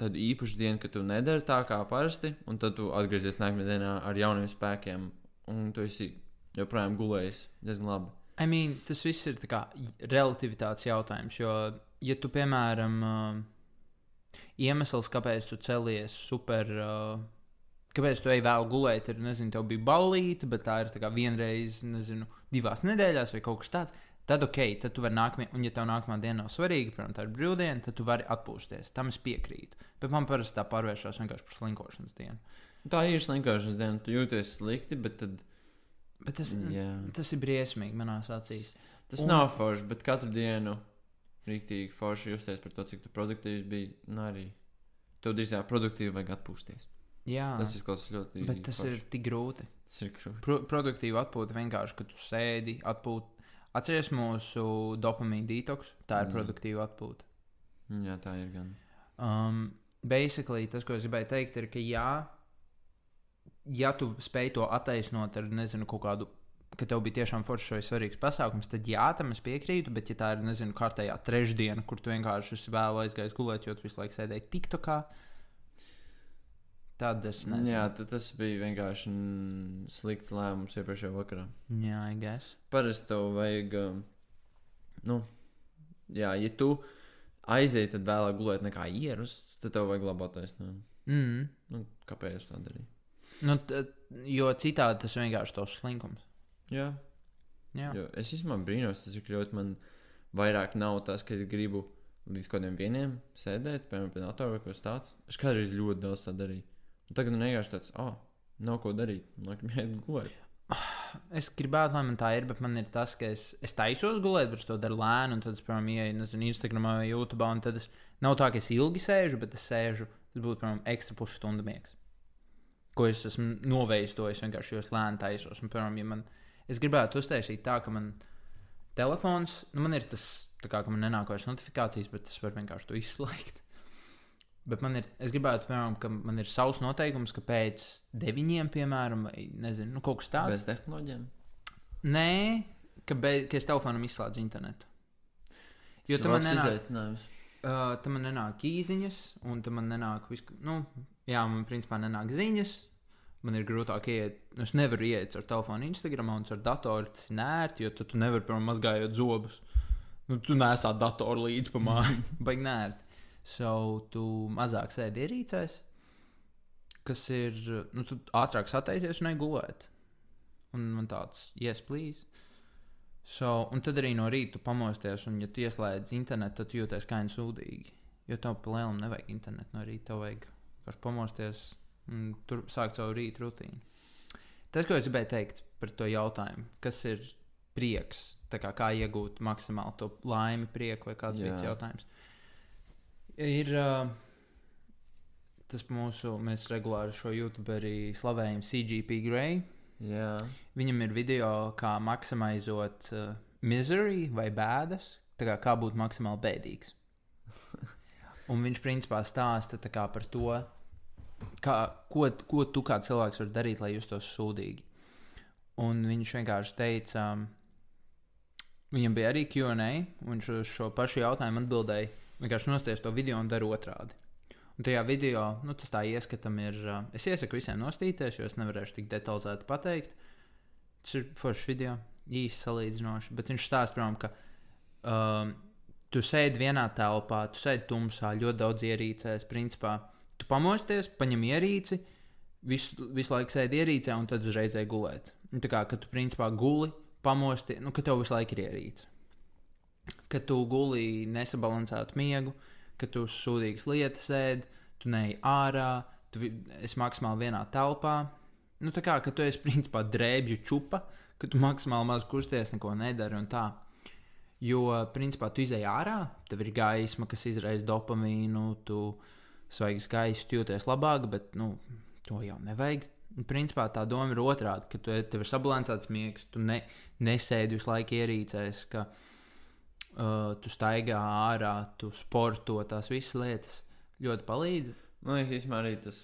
Speaker 1: tādu īpašu dienu, ka tu nedari tā kā parasti, un tad tu atgriezies nākamajā dienā ar jauniem spēkiem, un tu esi joprojām gulējis diezgan labi.
Speaker 2: I mean, tas viss ir tā kā relativitātes jautājums. Jo, ja tu, piemēram, ā, iemesls, kāpēc tu celies super, ā, kāpēc tu ej vēl gulēt, ir, nezinu, tev bija balīti, bet tā ir tā kā vienreiz, nezinu, divās nedēļās vai kaut kas tāds. Tad ok, tad tu vari nākamajā, un ja tev nākamā diena nav svarīga, piemēram, tā ir brīvdiena, tad tu vari atpūsties. Tam es piekrītu. Bet man parasti tā pārvēršas vienkārši par slinkošanas dienu.
Speaker 1: Nu, Tā ir slinkošanas diena, tu jūties slikti, bet tad, mm,
Speaker 2: Bet tas,
Speaker 1: jā,
Speaker 2: tas ir briesmīgi manās acīs.
Speaker 1: tas
Speaker 2: Un-
Speaker 1: un... nav forši, bet katru dienu rīktīgi forši justies par to, cik tu produktīvs biji. Nu, arī tev drīzāk produktīvi vajag atpūsties.
Speaker 2: Jā,
Speaker 1: Tas izklausās ļoti
Speaker 2: Ah. bet tas
Speaker 1: forši.
Speaker 2: ir tik grūti.
Speaker 1: Tas ir grūti.
Speaker 2: Pro produktīva atpūta vienkārši, kad tu sēdi, atpūti. Atceries mūsu dopamīna detoks, tā ir
Speaker 1: Mm.
Speaker 2: mm. produktīva atpūta.
Speaker 1: Jā, tā ir gan.
Speaker 2: Um, basically, tas, ko es gribēju teikt, ir, ka jā, ja tu spēj to attaisnot ar nezinu, kaut kādu, ka tev bija tiešām foršs vai svarīgs pasākums, tad jā, tam es piekrītu, bet ja tā ir, nezinu, kārtējā trešdiena, kur tu vienkārši esi vēl aizgājis gulēt, jo tu visu laiku sēdēji TikTokā, tad es nezinu.
Speaker 1: Jā, tad tas bija vienkārši mm, slikts lēmums iepriekšējā vakarā.
Speaker 2: jā I guess.
Speaker 1: Parasti tev vajag, um, nu, jā, ja tu aizēji, tad vēlāk gulēt nekā ierasts, tad tev vajag labu attaisnojumu.
Speaker 2: Mm.
Speaker 1: Nu, kāpēc es tā darīju?
Speaker 2: Nu, t- jo citādi tas vienkārši tavs slinkums.
Speaker 1: Jā,
Speaker 2: Jā,
Speaker 1: jo es īstenībā brīnos, tas ir ļoti man vairāk nav tas, ka es gribu līdz kaut kādiem vieniem sēdēt, piemēram, pie datora vai kaut kas tāds. Es kādreiz ļoti daudz tā darīju. Un tagad man vienkārši tāds, ah, oh, nav ko darīt. Man liekas, jāiet gulēt.
Speaker 2: es gribētu, lai man tā ir, bet man ir tas, ka es, es taisos gulēt, bet es to daru lēni, un tad es, piemēram, ieeju nezinu, Instagram vai YouTube, un tad es nav tā, ka es ilgi sēžu, bet es sēžu, tas būtu, piemēram, ekstra pusstunda miegs. Ko es esmu novējis to, es vienkārši jūs lēni taisos. Un, piemēram, ja man, es gribētu uztaisīt tā, ka man telefons, nu, man ir tas, tā kā ka man nenāk vairs notifikācijas, bet es varu vienkārši to izslēgt. Bet man ir, es gribētu, piemēram, ka man ir savs noteikums, ka pēc deviņiem, piemēram, vai nezinu, nu, kaut kas tāds.
Speaker 1: Bez tehnoloģiem.
Speaker 2: Nē, ka, be, ka es telefonam izslēdzu internetu. Jo
Speaker 1: Tas
Speaker 2: tam man
Speaker 1: labs
Speaker 2: nenāk-
Speaker 1: izaicinājums.
Speaker 2: Uh, tam man nenāk īsiņas, un tam man nenāk visu. Nu, jā, man principā nenāk ziņas. Man ir grūtāk iet, nu, es nevaru iet ar telefonu, Instagram un ar datoru. Tas ir nērti, jo tad tu nevari, piemēram, mazgājot zobus. Nu, tu nesā datoru līdzi pa māju. Baigi nērti. So, tu mazāk sēdi ierīcēs, kas ir. Nu, tu ātrāk sataisies un ej gulēt. Un man tāds, yes, please. So, un tad arī no rīta tu pamosties, un, ja tu ieslēdz internetu, tad tu jūties kā nē, sūdīgi. Jo tev plēnām nevajag internetu no rīta, tev vajag vienkārši pamosties un tur sākt savu rīta rutīnu. Tas, ko es gribēju teikt par to jautājumu, kas ir prieks, tā kā, kā iegūt maksimāli to laimi, prieku vai kāds
Speaker 1: Jā.
Speaker 2: cits jautājums, ir uh, tas mūsu, mēs regulāri šo YouTube arī slavējam CGP Grey.
Speaker 1: Jā.
Speaker 2: Viņam ir video, kā maksimizēt uh, mizeriju vai bēdas, tā kā, kā būt maksimāli bēdīgs. Un viņš principā stāsta tā kā, par to, kā, ko, ko tu kā cilvēks vari darīt, lai justos sūdīgi. Un viņš vienkārši teica, um, viņam bija arī QA, un viņš uz šo pašu jautājumu atbildēja, vienkārši nosties to video un dara otrādi. Un tajā video, nu, tas tā ieskatam, ir. uh, Es iesaku visiem nostīties, jo es nevarēšu tik detalizēti pateikt. Tas ir foršs video, īsi salīdzinoši. Bet viņš stāsta, piemēram, ka um, tu sēdi vienā telpā, tu sēdi tumsā, ļoti daudz ierīcēs. Principā tu pamosties, paņem ierīci, visu, visu laiku sēdi ierīcē un tad uzreiz ej gulēt. Un Tā kā kad tu principā guli, pamosties, nu, ka tev visu laiku ir ierīce. Ka tu guli nesabalansētu miegu, ka tu sūdīgas lietas sēdi, tu neej ārā, tu vi- esi maksimāli vienā telpā. Nu, tā kā ka tu esi principā drēbju čupa, ka tu maksimāli maz kusties, neko nedari un tā. Jo, principā, tu izēj ārā, tev ir gaisma, kas izraisa dopamīnu, tu svaigs gaiss, tu jūties labāk, bet nu, to jau nevajag. Un, principā, tā doma ir otrādi, ka tu, tev ir sabalansēts miegs, tu ne, nesēdi visu laiku ierīcēs, ka uh, tu staigā ārā, tu sporto tās visas lietas. Ļoti palīdz.
Speaker 1: Man liekas, īstenībā arī tas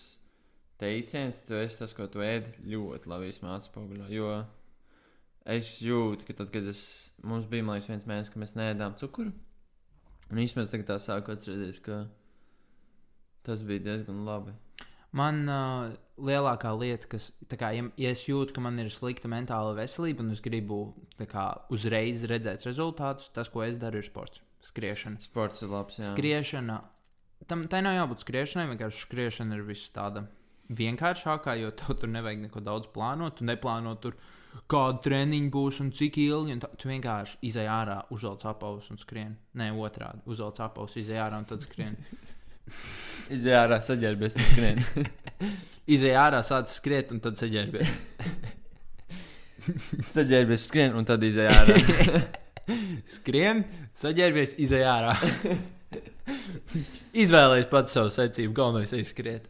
Speaker 1: teiciens, tu esi tas, ko tu ēdi, ļoti labi īstenībā atspoguļo. Jo es jūtu, ka tad, kad es, mums bija man liekas, viens mēnesis, ka mēs neēdām cukuru, un īstenībā es tagad tā sāku atcerēties, ka tas bija diezgan labi.
Speaker 2: Man uh, lielākā lieta, kas, tā kā, ja, ja es jūtu, ka man ir slikta mentāla veselība un es gribu tā kā, uzreiz redzēt rezultātus, tas, ko es daru, ir sports. Skriešana.
Speaker 1: Sports ir labs, jā.
Speaker 2: Skriešana. Tam tai nav jābūt skriešanai, vienkārši skriešana ir viss tāda vienkāršākā, jo tev tur nevajag neko daudz plānot. Tu neplāno tur, kāda treniņa būs un cik ilgi. Un tā, tu vienkārši izai ārā, uzvelc apavus un skrien. Nē, otrādi - uzvelc apavus, izai ārā un tad skrien.
Speaker 1: Izjā ārā saģērbies un skrien.
Speaker 2: Izai ārā, sāc skriet un tad saģērbies.
Speaker 1: saģērbies, skrien un tad izjā ārā.
Speaker 2: Skrien, saģērbies, izej ārā. Izvēlējies pats savu secību, galvenais ir skriet.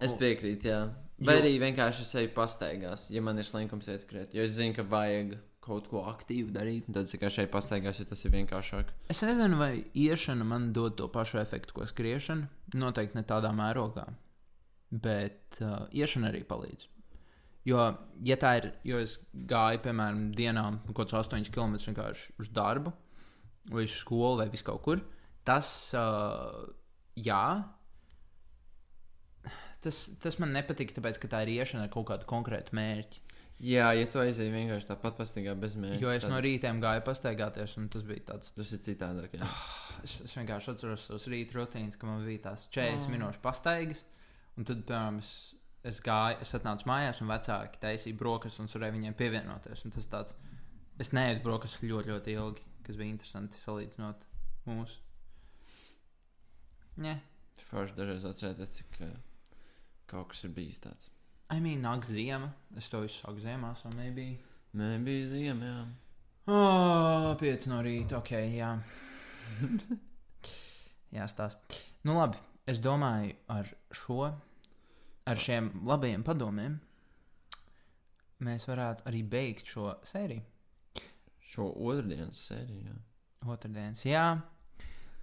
Speaker 1: Es piekrītu, jā. Vai arī vienkārši es eju pastaigās, ja man ir slinkums iet skriet. Jo es zinu, ka vajag kaut ko aktīvu darīt, un tad es vienkārši eju pastaigās, jo tas ir vienkāršāk.
Speaker 2: Es nezinu, vai iešana man dod to pašu efektu, ko skriešana. Noteikti ne tādā mērogā. Bet uh, iešana arī palīdz. Jo, ja tā ir, jo es gāju, piemēram, dienā nu, kaut kādus 8 km vienkārši uz darbu, vai uz skolu, vai vis kaut kur, tas, uh, jā, tas, tas man nepatīk, tāpēc, ka tā ir iešana ar kaut kādu konkrētu mērķi.
Speaker 1: Jā, ja tu aizēji vienkārši tāpat pastaigā bez mērķa.
Speaker 2: Jo es
Speaker 1: tad
Speaker 2: no rīta gāju pastaigāties, un tas bija tāds.
Speaker 1: Tas ir citādāk. Jā.
Speaker 2: Es, es vienkārši atceros tos rīta rutīnas, ka man bija tās 40 oh. minūšu pastaigas. Un tad, piemēram, es, es gāju, es atnācu mājās, un vecāki taisīja brokastis, un es varēju viņiem pievienoties. Un tas tāds, es neēdu brokastis ļoti, ļoti ilgi, kas bija interesanti salīdzinot mūsu. Nē,
Speaker 1: Forši dažreiz atcerēties, cik eh, kaut kas ir bijis tāds.
Speaker 2: I mean, nāk zima. Es to visu saku ziemā, so maybe.
Speaker 1: Nē, bija ziema, jā.
Speaker 2: Oh, pieci no rīta, ok, jā. jā, stāsta. Nu, labi, es domāju, ar šo, ar šiem labajiem padomiem, mēs varētu arī beigt šo sēriju.
Speaker 1: Šo otrdienas sēriju. jā.
Speaker 2: Otradienas, jā,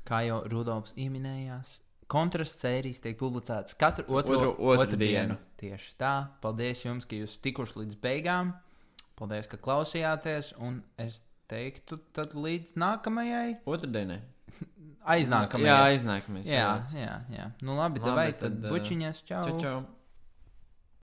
Speaker 2: kā jau Rudolfs pieminējās, kontrasts sērijas tiek publicētas katru otro,
Speaker 1: Otru- otru dienu.
Speaker 2: Tieši tā. Paldies jums, ka jūs tikuši līdz beigām. Paldies, ka klausījāties. Un es teiktu, tad līdz nākamajai,
Speaker 1: Otrdienai.
Speaker 2: aiznākamajai.
Speaker 1: Jā, aiznākamies.
Speaker 2: jā, jā, jā. Nu, labi,
Speaker 1: Labi,
Speaker 2: labi vai
Speaker 1: tad,
Speaker 2: tad
Speaker 1: ā,
Speaker 2: bučiņas, čau!
Speaker 1: Čau, čau.